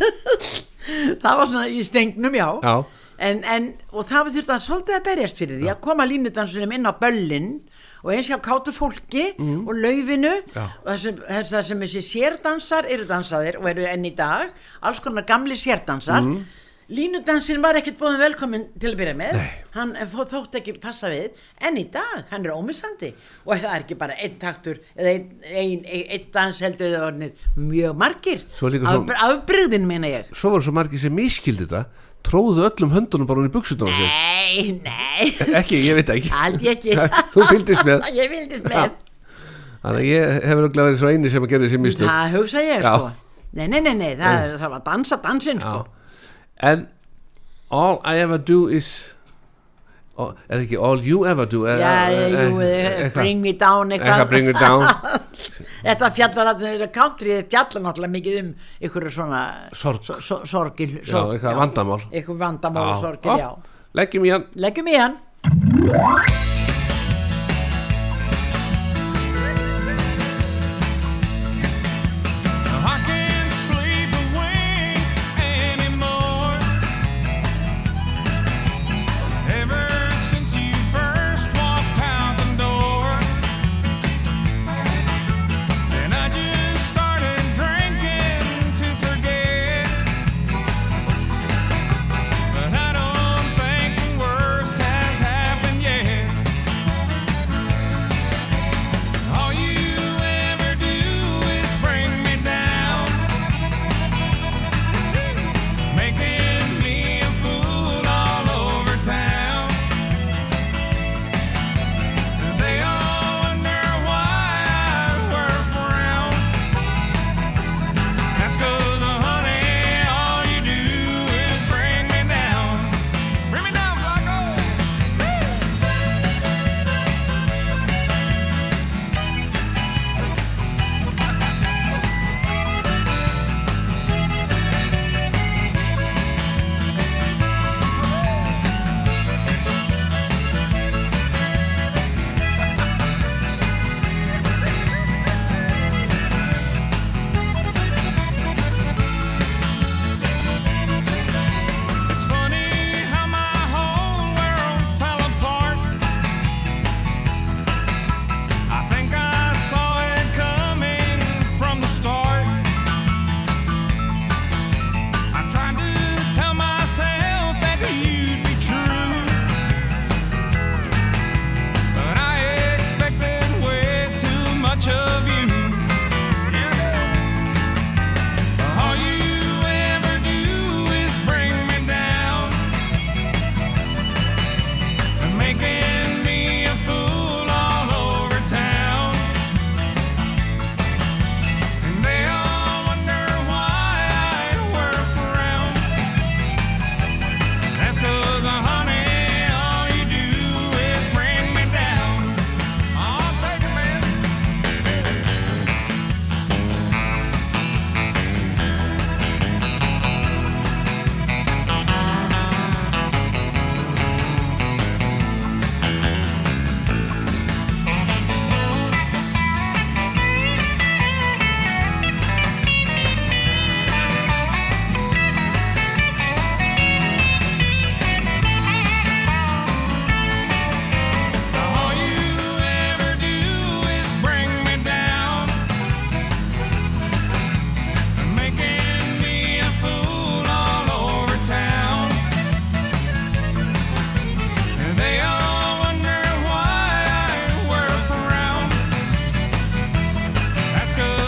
[SPEAKER 2] það var svona í stengnum já,
[SPEAKER 3] Já.
[SPEAKER 2] En, en, og það var þurft að svolítið að berjast fyrir því að koma línudansunum inn á böllin og eins hjá kátu fólki og laufinu
[SPEAKER 3] Já.
[SPEAKER 2] og það sem, það sem þessi sérdansar eru dansaðir og eru enn í dag alls konar gamli sérdansar
[SPEAKER 4] Mm.
[SPEAKER 2] Línudansin var ekkert búin velkomin til að byrja með,
[SPEAKER 3] Nei.
[SPEAKER 2] hann eh, fó- þótti ekki passa við, en í dag, hann er ómissandi og það er ekki bara einn taktur eða einn ein, ein, ein dans heldur eða orðinir mjög margir,
[SPEAKER 3] Svo líka svo-
[SPEAKER 2] afbrigðin meina ég.
[SPEAKER 3] Svo voru svo margir sem miskildi þetta Tróðu öllum höndunum bara hún í buksutunum sér
[SPEAKER 2] Nei, nei,
[SPEAKER 3] Ekki, ég veit ekki
[SPEAKER 2] allt ég ekki.
[SPEAKER 3] Þú fylgdist með
[SPEAKER 2] Ég fylgdist með.
[SPEAKER 3] Þannig að ég hefur örugglega verið svo eini sem að gera þessi mistök
[SPEAKER 2] Það hugsa ég,
[SPEAKER 3] Já.
[SPEAKER 2] sko. Nei, nei, nei, nei, það, það var dansa dansinn, sko.
[SPEAKER 3] Já. En all I ever do is all, Er ekki all you ever do er,
[SPEAKER 2] Já, jú, eh, bring me down
[SPEAKER 3] Eitthvað bring
[SPEAKER 2] eitthvað.
[SPEAKER 3] me down
[SPEAKER 2] Þetta fjallar alltaf, þetta country fjallar náttúrulega mikið um ykkur svona
[SPEAKER 3] Sorg.
[SPEAKER 2] so- so- sorgil,
[SPEAKER 3] Já,
[SPEAKER 2] sorg,
[SPEAKER 3] eitthvað vandamál
[SPEAKER 2] ykkur vandamál og sorgil, já.
[SPEAKER 3] Leggjum í hann
[SPEAKER 2] Leggjum í hann.
[SPEAKER 7] I can't sleep away anymore. Ever since you first walked out the door, and I just started drinking to forget. But I don't think the worst has happened yet.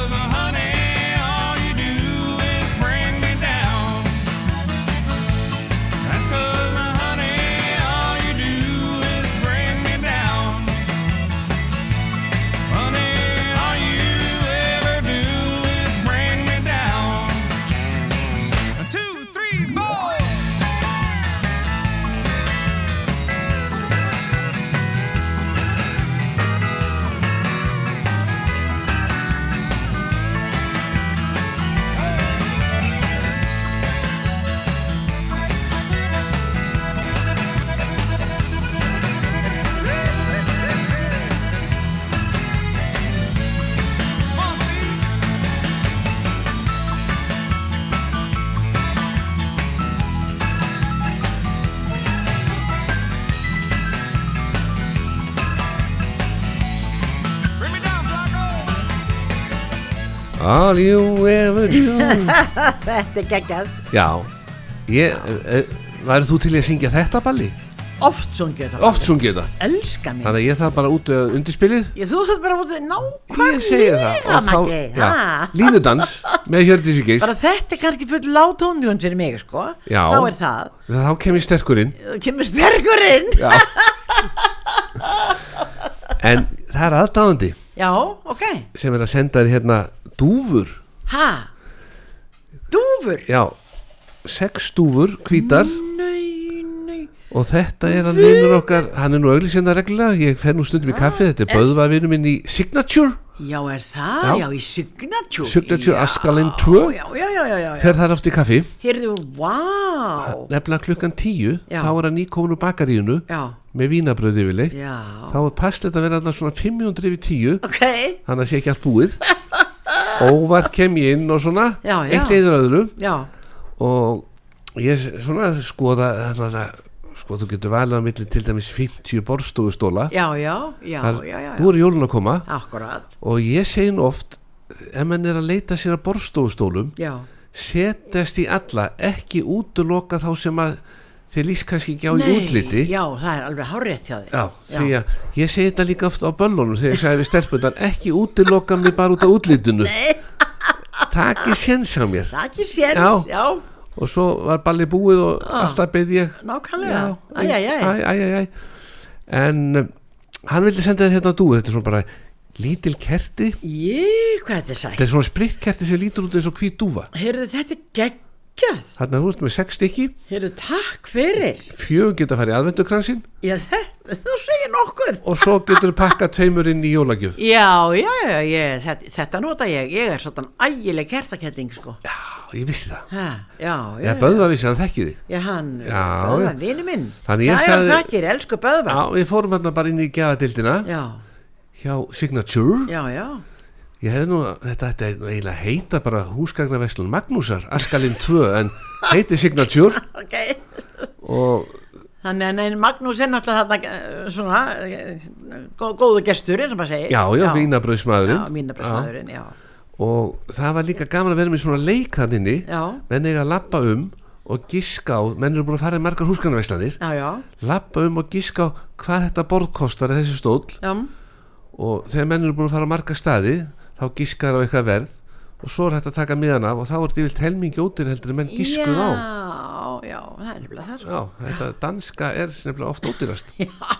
[SPEAKER 7] uh,
[SPEAKER 3] All you ever do
[SPEAKER 2] Þetta er geggjað
[SPEAKER 3] Já Ég, eh, eh, væri þú til í að syngja þetta balli?
[SPEAKER 2] Oft sungið þetta
[SPEAKER 3] Oft sungið þetta
[SPEAKER 2] Elskar mig
[SPEAKER 3] Þannig að ég þarf bara út eh, undir spilið
[SPEAKER 2] Ég þú þarf bara að vera
[SPEAKER 3] Ég segi það
[SPEAKER 2] nákvæmlega
[SPEAKER 3] og
[SPEAKER 2] Maggi
[SPEAKER 3] já,
[SPEAKER 2] ha?
[SPEAKER 3] Línudans með Hjördísi Geis
[SPEAKER 2] Bara þetta er kannski full látónljónd fyrir mig sko
[SPEAKER 3] Já.
[SPEAKER 2] Þá er það
[SPEAKER 3] Þá kem ég sterkur inn
[SPEAKER 2] Þú kemur sterkur inn
[SPEAKER 3] Já En það er aðdáðandi
[SPEAKER 2] Já, ok
[SPEAKER 3] sem er að senda þér hérna dúfur
[SPEAKER 2] Ha Dúfur
[SPEAKER 3] Já, sex dúfur, hvítar
[SPEAKER 2] Nei, nei
[SPEAKER 3] Og þetta er hann vinnur okkar, hann er nú auglýsenda reglulega, ég fer nú stundum í
[SPEAKER 2] Ah,
[SPEAKER 3] kaffi, þetta er böðva vinnur minn í Signature,
[SPEAKER 2] Já, er það?
[SPEAKER 3] Já.
[SPEAKER 2] Ah, Já, í Signature
[SPEAKER 3] Signature
[SPEAKER 2] Já,
[SPEAKER 3] Askalinn 2.
[SPEAKER 2] Já, já, já, já, já, já.
[SPEAKER 3] fer þar oft í kaffi,
[SPEAKER 2] Heyrðu, vá
[SPEAKER 3] nefnilega klukkan tíu,
[SPEAKER 2] Já.
[SPEAKER 3] þá er hann í konu bakaríinu
[SPEAKER 2] Já,
[SPEAKER 3] með vínabröði yfirleitt,
[SPEAKER 2] já
[SPEAKER 3] þá er passlegt að vera alltaf svona 500 yfir tíu,
[SPEAKER 2] Ok,
[SPEAKER 3] hann að sé ekki allt búið, óvart kem ég inn og svona,
[SPEAKER 2] Já, já.
[SPEAKER 3] eitt leiður öðru
[SPEAKER 2] já
[SPEAKER 3] og ég s- svona skoða, þannig að sko þú getur valið á milli til dæmis 50 borstofustóla,
[SPEAKER 2] Já, já, já,
[SPEAKER 3] Þar-
[SPEAKER 2] já, já,
[SPEAKER 3] nú
[SPEAKER 2] já.
[SPEAKER 3] er jólun að koma,
[SPEAKER 2] Akkurat,
[SPEAKER 3] og ég segi nú oft ef mann er að leita sér að borstofustólum
[SPEAKER 2] já
[SPEAKER 3] setjast í alla ekki útloka þá sem að þið líst kannski ekki á í
[SPEAKER 2] Nei,
[SPEAKER 3] útliti
[SPEAKER 2] Já, það er alveg hárétt hjá þig
[SPEAKER 3] Já, því að ég segi þetta líka oft á böllunum þegar ég sagði við stelpundan ekki útiloka mig bara út af útlitinu Nei Takk ég séns á mér
[SPEAKER 2] Það er ekki séns,
[SPEAKER 3] Já.
[SPEAKER 2] já,
[SPEAKER 3] og svo var balli búið og alltaf beði ég
[SPEAKER 2] nákvæmlega
[SPEAKER 3] Já,
[SPEAKER 2] Æ, æ, æ, æ,
[SPEAKER 3] æ, æ, æ. En um, hann vildi senda þér hérna á dúið þetta er svona bara lítil kerti
[SPEAKER 2] Ég, hvað þetta er
[SPEAKER 3] þetta
[SPEAKER 2] sætt
[SPEAKER 3] er svona spritkerti sem lítur út eins og hvít dúfa
[SPEAKER 2] Heyrðu, þetta er geggjað
[SPEAKER 3] Þannig að þú ert með sex stykki,
[SPEAKER 2] Heyrðu, takk fyrir
[SPEAKER 3] fjögur geta að fara í aðvendukransin
[SPEAKER 2] Já, þetta, þú segir nokkuð
[SPEAKER 3] og svo getur þú pakkað tveimur inn í jólagjöf.
[SPEAKER 2] Já, já, já, ég, þetta, þetta nota ég Ég er svona ægileg kertaketting, sko Já,
[SPEAKER 3] Já, ég vissi það.
[SPEAKER 2] já, já, já.
[SPEAKER 3] Ég böðva vissi að hann þekki þig.
[SPEAKER 2] Já, hann,
[SPEAKER 3] Já,
[SPEAKER 2] Böðvar,
[SPEAKER 3] já.
[SPEAKER 2] vini minn
[SPEAKER 3] Þannig ég
[SPEAKER 2] Það er
[SPEAKER 3] sagði-
[SPEAKER 2] hann þakkir, elsku
[SPEAKER 3] Já,
[SPEAKER 2] Böðvar
[SPEAKER 3] við fórum hérna bara inn í gefadildina
[SPEAKER 2] Já,
[SPEAKER 3] hjá Signature.
[SPEAKER 2] já, já
[SPEAKER 3] Ég hefði nú, þetta ætti nú eiginlega að heita bara húsgagnaveslun Magnúsar, Askalinn 2, en heiti Signature
[SPEAKER 2] Ok
[SPEAKER 3] og
[SPEAKER 2] Þannig að nei, Magnús er náttúrulega þarna eh, svona eh, gó- góðu gestur eins og maður segir
[SPEAKER 3] já, já, vínabröðsmaðurinn.
[SPEAKER 2] Já, vínabröðsmaðurinn, já.
[SPEAKER 3] Og það var líka gaman að vera með svona leik hann inni,
[SPEAKER 2] Já.
[SPEAKER 3] menn eiga að lappa um og giska á, menn eru búin að fara í margar húsgagnaveslanir,
[SPEAKER 2] Já, já,
[SPEAKER 3] lappa um og giska á hvað þetta borð kostar eða þessi stóll
[SPEAKER 2] já,
[SPEAKER 3] og þegar menn eru búin að fara á marga staði þá gískar á eitthvað verð og svo er hægt að taka miðan af og þá er yfirlt helmingi ódýr heldur en menn gískuð
[SPEAKER 2] já,
[SPEAKER 3] á
[SPEAKER 2] já, það er nefnilega það sko.
[SPEAKER 3] Já, þetta danska er nefnilega oft ódýrast
[SPEAKER 2] Já,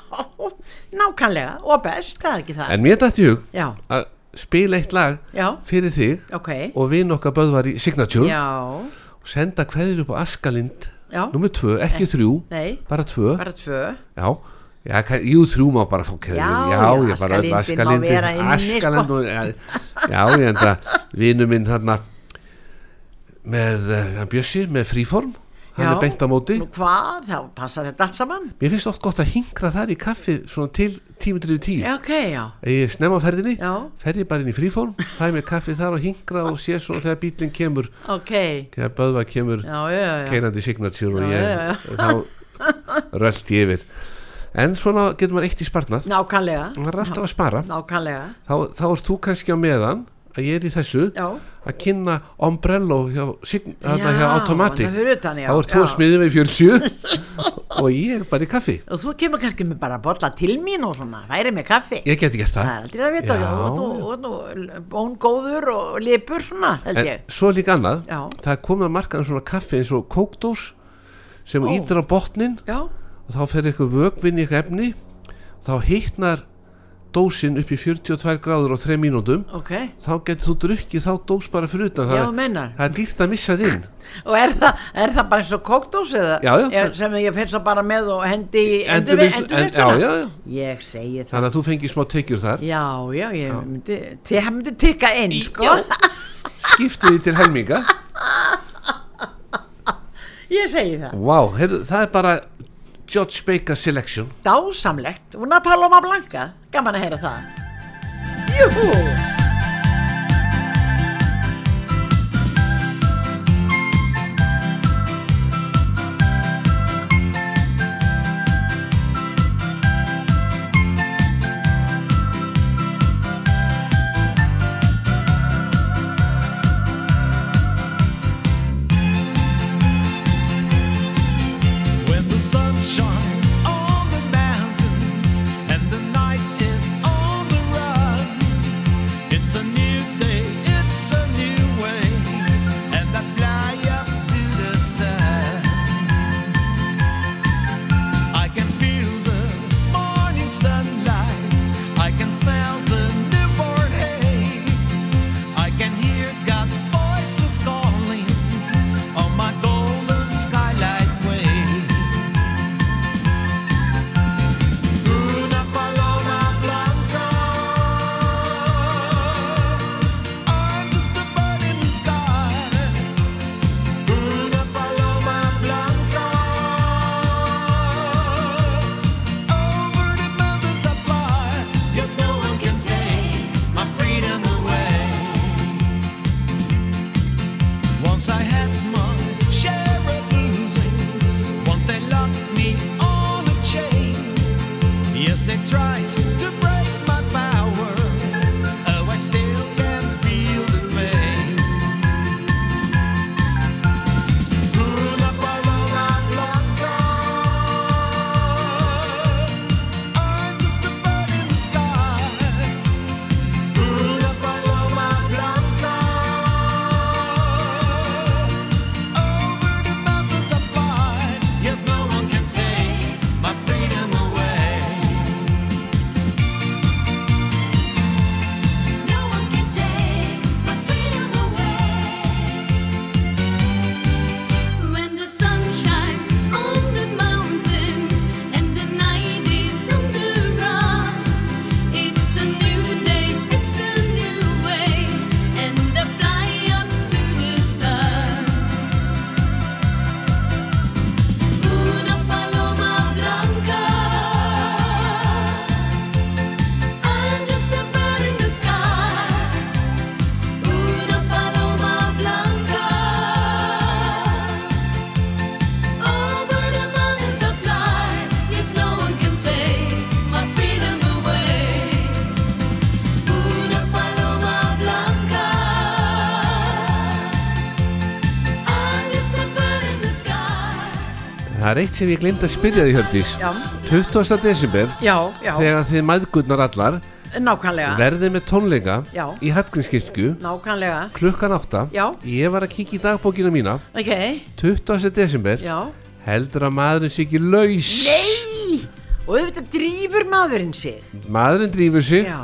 [SPEAKER 2] nákvæmlega, og best, það er ekki það.
[SPEAKER 3] En mér dætti hug
[SPEAKER 2] já,
[SPEAKER 3] að spila eitt lag
[SPEAKER 2] já,
[SPEAKER 3] fyrir þig
[SPEAKER 2] ok,
[SPEAKER 3] og vin okkar böðvar í Signature
[SPEAKER 2] já,
[SPEAKER 3] og senda hverður upp á Askalind
[SPEAKER 2] já,
[SPEAKER 3] nummer 2, ekki 3,
[SPEAKER 2] Eh, nei,
[SPEAKER 3] bara 2
[SPEAKER 2] bara tvö.
[SPEAKER 3] Já, já kann, jú, þrjú má bara fá keður
[SPEAKER 2] Já, já,
[SPEAKER 3] ég bara
[SPEAKER 2] Askalindin
[SPEAKER 3] öll
[SPEAKER 2] má
[SPEAKER 3] askalindi
[SPEAKER 2] vera inni, sko.
[SPEAKER 3] Askalind og, ja, Já, ég enda vinu minn þarna með uh, Bjössi, með fríform hann
[SPEAKER 2] Já.
[SPEAKER 3] er beint á móti
[SPEAKER 2] Nú hvað, þá passar þetta allt saman.
[SPEAKER 3] Mér finnst oft gott að hingra þar í kaffi svona til 10.30
[SPEAKER 2] Já, ok, já,
[SPEAKER 3] Ég er snemma á ferðinni,
[SPEAKER 2] já,
[SPEAKER 3] fer ég bara inn í fríform fæ mér kaffi þar og hingra og sé svo þegar bílinn kemur,
[SPEAKER 2] ok,
[SPEAKER 3] þegar böðva kemur
[SPEAKER 2] já, já, já,
[SPEAKER 3] keinandi signature og
[SPEAKER 2] Já,
[SPEAKER 3] ég
[SPEAKER 2] já, já.
[SPEAKER 3] þá rölt ég yfir En svona getur maður eitt í spartnað
[SPEAKER 2] nákvæmlega,
[SPEAKER 3] maður er alltaf að spara
[SPEAKER 2] nákvæmlega,
[SPEAKER 3] þá, þá ert þú kannski á meðan að ég er í þessu
[SPEAKER 2] já.
[SPEAKER 3] að kynna Ombrello hjá, sign, þarna hjá Automatic
[SPEAKER 2] þannig að fyrir utan, já,
[SPEAKER 3] þá ert þú að
[SPEAKER 2] já.
[SPEAKER 3] smiði með 40 og ég bara í kaffi
[SPEAKER 2] Og þú kemur kannski með bara að bolla til mín og svona, væri með kaffi.
[SPEAKER 3] ég geti gert
[SPEAKER 2] Það er
[SPEAKER 3] það
[SPEAKER 2] aldrei að vita,
[SPEAKER 3] Já.
[SPEAKER 2] já, og þú- og þú bóngóður og lipur svona, held
[SPEAKER 3] en
[SPEAKER 2] ég.
[SPEAKER 3] svo líka annað
[SPEAKER 2] Já.
[SPEAKER 3] það er komið að markaðan svona kaffi eins og kókdós
[SPEAKER 2] Ó.
[SPEAKER 3] sem oh. ítir á botnin
[SPEAKER 2] Já,
[SPEAKER 3] og þá fer eitthvað vögvinn í eitthvað efni og þá hittnar dósin upp í 42 gráður og 3 mínútum
[SPEAKER 2] ok,
[SPEAKER 3] þá getur þú drukkið þá dós bara fyrir utan
[SPEAKER 2] já,
[SPEAKER 3] það,
[SPEAKER 2] mennar.
[SPEAKER 3] það er dýrt að missa þinn
[SPEAKER 2] Og er, þa er það bara eins og kókdós eða?
[SPEAKER 3] Já, já.
[SPEAKER 2] Ég, sem ég fyrir svo bara með og hendi í
[SPEAKER 3] Endurvinnslu-
[SPEAKER 2] endurvinnsluna?
[SPEAKER 3] en- já, já, já.
[SPEAKER 2] Ég segi það.
[SPEAKER 3] þannig að þú fengir smá tekjur þar
[SPEAKER 2] Já, já, ég myndi, það myndi tikka inn, sko.
[SPEAKER 3] skiptu því til helminga
[SPEAKER 2] Ég segi það.
[SPEAKER 3] Vá, heyrðu, það er bara George Baker Selection
[SPEAKER 2] Dásamlegt, una Paloma Blanca, gaman að heyra það. Júhú!
[SPEAKER 8] It's a new day, it's a new way, and I fly up to the sun. I can feel the morning sunlight, I can smell the newborn hay, I can hear God's voices calling on my golden skylight way. Una paloma blanca I'm just a bird in the sky Una paloma blanca Over the mountains I fly Yes, no one can take my freedom away once I had my share of losing, once they locked me on a chain. Yes, they tried to break my power. Oh, I still can feel the pain. Una paloma blanca. I'm just a bird in the sky. Una paloma blanca. Over the mountains I fly. Yes, no one can take my freedom away.
[SPEAKER 5] No one can take my freedom away. When the sun shines on the mountains and the night is on the run, it's a new day, it's a new way, and I fly up to the sun. Una paloma blanca. I'm just a bird in the sky. Una paloma blanca. Over the mountains I fly. Yes, no one can take my freedom away. Una paloma blanca. I'm just a bird in the sky.
[SPEAKER 3] Það er eitt sem ég glind að spyrja því Hjördís
[SPEAKER 2] Já.
[SPEAKER 3] 20. desember
[SPEAKER 2] já, já,
[SPEAKER 3] þegar þið mæðgurnar allar
[SPEAKER 2] nákvæmlega
[SPEAKER 3] verðið með tónleika
[SPEAKER 2] Já.
[SPEAKER 3] í Hallgrímskirkju
[SPEAKER 2] nákvæmlega,
[SPEAKER 3] klukkan 8
[SPEAKER 2] Já.
[SPEAKER 3] ég var að kíkja í dagbókina mína
[SPEAKER 2] ok
[SPEAKER 3] 20. desember
[SPEAKER 2] já,
[SPEAKER 3] heldur að maðurinn sé ekki laus
[SPEAKER 2] nei og auðvitað drífur maðurinn sig
[SPEAKER 3] maðurinn drífur sig
[SPEAKER 2] já,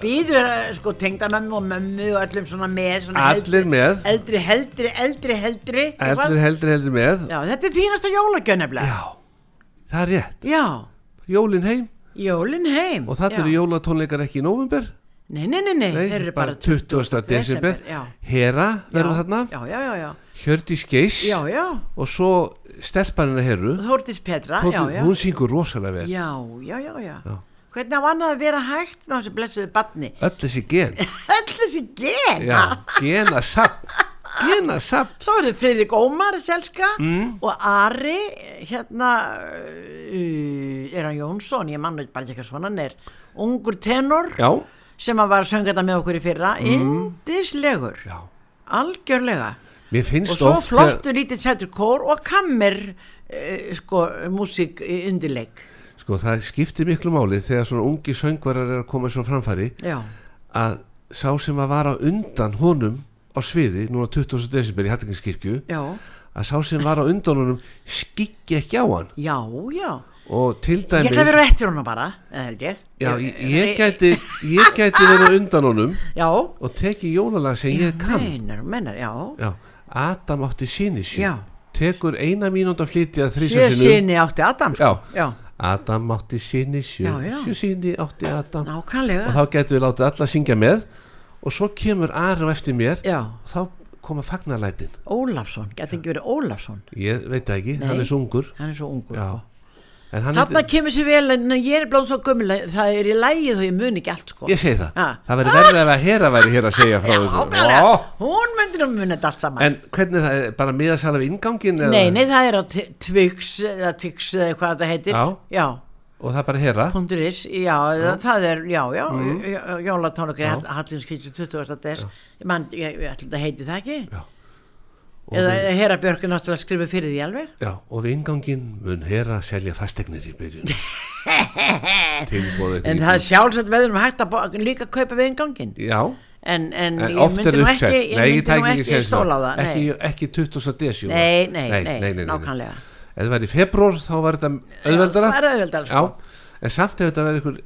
[SPEAKER 2] býður eh, sko tengdamömmu og mömmu og öllum svona með svona
[SPEAKER 3] allir með
[SPEAKER 2] eldri, heldri, eldri, heldri eitthvað.
[SPEAKER 3] allir heldur heldur með
[SPEAKER 2] Já, þetta er fínasta jólagjöf nefnilega.
[SPEAKER 3] já, það er rétt
[SPEAKER 2] Já,
[SPEAKER 3] jólin heim
[SPEAKER 2] jólin heim.
[SPEAKER 3] og þannig
[SPEAKER 2] Já.
[SPEAKER 3] eru jólatónleikar ekki í november
[SPEAKER 2] Nei, nei, nei, nei, þeir eru bara
[SPEAKER 3] 20. desember
[SPEAKER 2] Já,
[SPEAKER 3] Hera verður
[SPEAKER 2] já,
[SPEAKER 3] þarna
[SPEAKER 2] Já, já, já, já,
[SPEAKER 3] Hjördís Geis
[SPEAKER 2] já, já,
[SPEAKER 3] og svo stelpanina Heru
[SPEAKER 2] Þórdís Petra,
[SPEAKER 3] Þóttu,
[SPEAKER 2] já, já.
[SPEAKER 3] hún syngur rosalega vel
[SPEAKER 2] Já, já, já, já.
[SPEAKER 3] Já.
[SPEAKER 2] Hvernig á annað að vera hægt með þessu blessuðu barni?
[SPEAKER 3] öll þessi gen
[SPEAKER 2] Öll þessi gen!
[SPEAKER 3] já, genasapp genasapp
[SPEAKER 2] Svo er þetta Friðrik Ómar, selska, mm. og Ari, hérna, uh, er hann Jónsson, ég mann bara ekki hvað svona hann er, ungur tenor
[SPEAKER 3] já, Mm.
[SPEAKER 2] sem að var að sönga þetta með okkur í fyrra, yndislegur,
[SPEAKER 3] já
[SPEAKER 2] algjörlega.
[SPEAKER 3] mér
[SPEAKER 2] og
[SPEAKER 3] finnst
[SPEAKER 2] svo
[SPEAKER 3] oft þegar-
[SPEAKER 2] flottur lítið sættur kór og kammer uh, sko, músík í undirleik
[SPEAKER 3] sko, það skiptir miklu máli þegar svona ungi söngvarar er að koma svona framfæri
[SPEAKER 2] já,
[SPEAKER 3] að sá sem að vara undan honum á sviði núna 20. desember í Hattinginskirkju
[SPEAKER 2] já,
[SPEAKER 3] að sá sem var á undan honum skikki ekki á hann
[SPEAKER 2] já, já
[SPEAKER 3] og til
[SPEAKER 2] ég
[SPEAKER 3] dæmis
[SPEAKER 2] ætla að vera á eftir honum bara eða held ég
[SPEAKER 3] já, ég, ég, gæti, ég gæti verið á undan honum
[SPEAKER 2] já,
[SPEAKER 3] og tekið jólalag sem ég kann
[SPEAKER 2] meinar, meinar, já
[SPEAKER 3] já, Adam átti sinni sín
[SPEAKER 2] Já.
[SPEAKER 3] tekur eina mínúnd að flytja þrísa
[SPEAKER 2] sjö
[SPEAKER 3] sinum
[SPEAKER 2] sinni átti Adam sko.
[SPEAKER 3] já.
[SPEAKER 2] já,
[SPEAKER 3] Adam átti sinni sjö
[SPEAKER 2] Já, já.
[SPEAKER 3] sjö sinni átti Adam og
[SPEAKER 2] nákvæmlega
[SPEAKER 3] þá getum við látið alla syngja með og svo kemur Ari á eftir mér
[SPEAKER 2] já,
[SPEAKER 3] og þá koma fagnarlætin
[SPEAKER 2] Ólafsson, gæti ekki verið Ólafsson
[SPEAKER 3] ég veit það ekki,
[SPEAKER 2] Nei.
[SPEAKER 3] hann er svo ungur
[SPEAKER 2] hann er svo ungur
[SPEAKER 3] já.
[SPEAKER 2] sko.
[SPEAKER 3] en hann
[SPEAKER 2] þarna
[SPEAKER 3] er,
[SPEAKER 2] kemur sér vel en ég er blóð svo gömul að það er í lægi þó ég mun ekki allt sko
[SPEAKER 3] ég segi það
[SPEAKER 2] Ha.
[SPEAKER 3] það verður verið ef að hera væri hér að segja frá þessu
[SPEAKER 2] Nákvæmlega.
[SPEAKER 3] Ó,
[SPEAKER 2] hún myndi nú muni þetta allt saman
[SPEAKER 3] en hvernig það er bara miðasal af ingangin
[SPEAKER 2] Nei, nei, það er á Ti- Twix eða Tix eða hvað þetta heitir
[SPEAKER 3] Já.
[SPEAKER 2] já
[SPEAKER 3] og það er bara hera
[SPEAKER 2] punktur is, já, það- það er já, já, mm. jólatónleikar Hall- Hallinskirkju 20. des ég man, ég, ég ætla þetta heiti það ekki
[SPEAKER 3] og,
[SPEAKER 2] eða
[SPEAKER 3] við,
[SPEAKER 2] Hera Björk er náttúrulega skrifið fyrir því alveg
[SPEAKER 3] já, og við ingangin mun hera selja fastegnir í byrjun tilborðið
[SPEAKER 2] En það er sjálfsagt veður um hægt að bo- líka kaupa við gangin
[SPEAKER 3] Já,
[SPEAKER 2] En, en,
[SPEAKER 3] en
[SPEAKER 2] ég
[SPEAKER 3] oft er
[SPEAKER 2] myndi nú ekki,
[SPEAKER 3] uppsett
[SPEAKER 2] ég
[SPEAKER 3] Nei, ég
[SPEAKER 2] myndi nú
[SPEAKER 3] tæk ekki
[SPEAKER 2] ekki
[SPEAKER 3] séns á
[SPEAKER 2] stóla á
[SPEAKER 3] það.
[SPEAKER 2] það
[SPEAKER 3] Ekki, ekki 20. desjúra
[SPEAKER 2] Nei, nei, nei, nákvæmlega
[SPEAKER 3] Ef það væri í februar þá var þetta
[SPEAKER 2] Það
[SPEAKER 3] auðveldara
[SPEAKER 2] er auðveldar sko
[SPEAKER 3] Já, en samt ef þetta verið einhver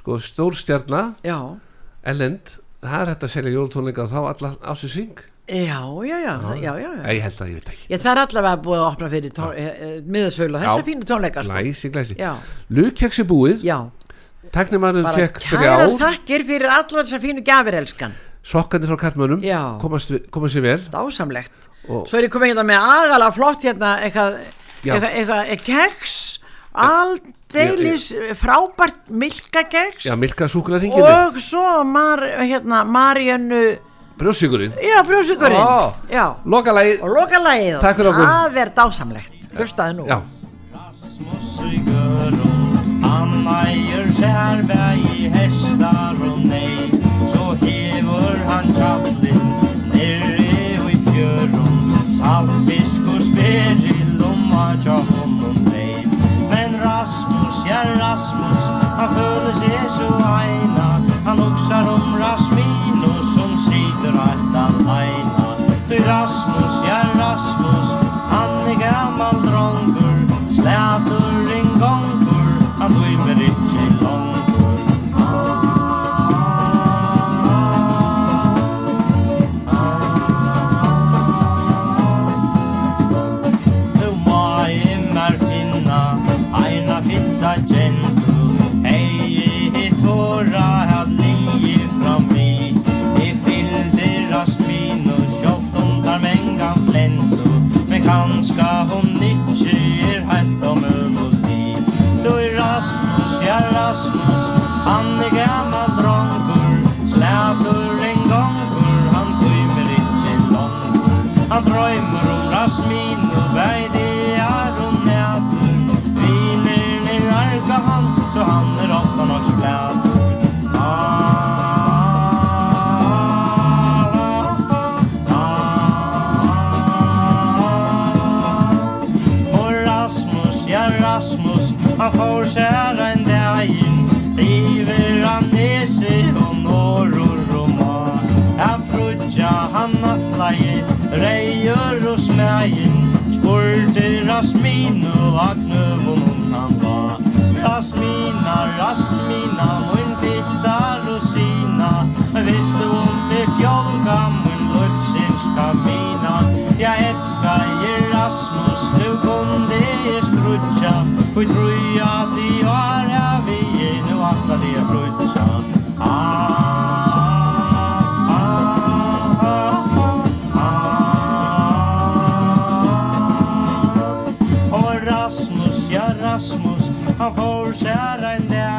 [SPEAKER 3] sko, stórstjarna,
[SPEAKER 2] Já,
[SPEAKER 3] ellend það er hægt að selja jólutónleika og þá alla ásins syng
[SPEAKER 2] já, já, já, já, já, já.
[SPEAKER 3] Ég held að ég veit ekki
[SPEAKER 2] Ég það er allavega búið að opna fyrir tón, eh, miðasölu og
[SPEAKER 3] Já.
[SPEAKER 2] þessa fínu tónleika sko.
[SPEAKER 3] Læsi, læsi
[SPEAKER 2] Já,
[SPEAKER 3] Lukjaks er búið,
[SPEAKER 2] já,
[SPEAKER 3] tæknimarinn
[SPEAKER 2] bara
[SPEAKER 3] fekk
[SPEAKER 2] kærar
[SPEAKER 3] þrjár
[SPEAKER 2] þakkir fyrir allar þessar fínu gafir elskan
[SPEAKER 3] sokkandi frá kallmönnum
[SPEAKER 2] Já.
[SPEAKER 3] komast, komast sér vel
[SPEAKER 2] Dásamlegt
[SPEAKER 3] Og-
[SPEAKER 2] Svo er ég komið hérna með agalega flott hérna eitthvað,
[SPEAKER 3] Já.
[SPEAKER 2] eitthvað, eitthvað keks aldeilis frábært milkakeks
[SPEAKER 3] Já, milka súkularringinu,
[SPEAKER 2] og svo mar, hérna Marjönnu
[SPEAKER 3] brjósíkurinn
[SPEAKER 2] Já, brjósukurinn
[SPEAKER 3] Ó.
[SPEAKER 2] Já,
[SPEAKER 3] Lokalagi
[SPEAKER 2] og lokalagið
[SPEAKER 3] Takk fyrir okkur.
[SPEAKER 2] Það er dásamlegt Hlustaðu nú
[SPEAKER 3] Já,
[SPEAKER 9] Meier skjærberg i hestar og nei Så hever han tjallin nere og i fjørum Saltfisk og spel i lomma tja honom nei Men Rasmus, ja Rasmus, han føler seg så eina Han oksar om Rasmino som sitter alt aleina Du Rasmus, ja Rasmus, han er gammal drongur Slætur en gongur, han døymer ikke langur Nu må jeg mer finna Eina fitta gentu Hei i tåra Hav lige fram mi I fylde raspino Sjått om tar mengan flento Men kanska hon nitje Er heilt om ömulti Du er Rasmus, ja Rasmus Han er gammal drongur Släpur en gongur Han tymer ikke langur Han drøymer om Rasmin og er veidier og næter Viner i arga han, så han er ofta nok Ah, flæter ah, ah. Og Rasmus, ja Rasmus, han får skjæra en dægin River han nese og når og roma Ja, frutja han nattleie, reier og smegin Spurte Rasmin og agnøv og noen han var Rasmina, Rasmina, mun fitta rosina Visst du om det fjolka, mun luftsins kamina Jeg elskar je Rasmus, nu kunde jeg skrutja Og er truja at i år er vi er nu atta det er frutja Ah, ah, ah, ah, ah, ah Og Rasmus, ja Rasmus, han får skjæra en dag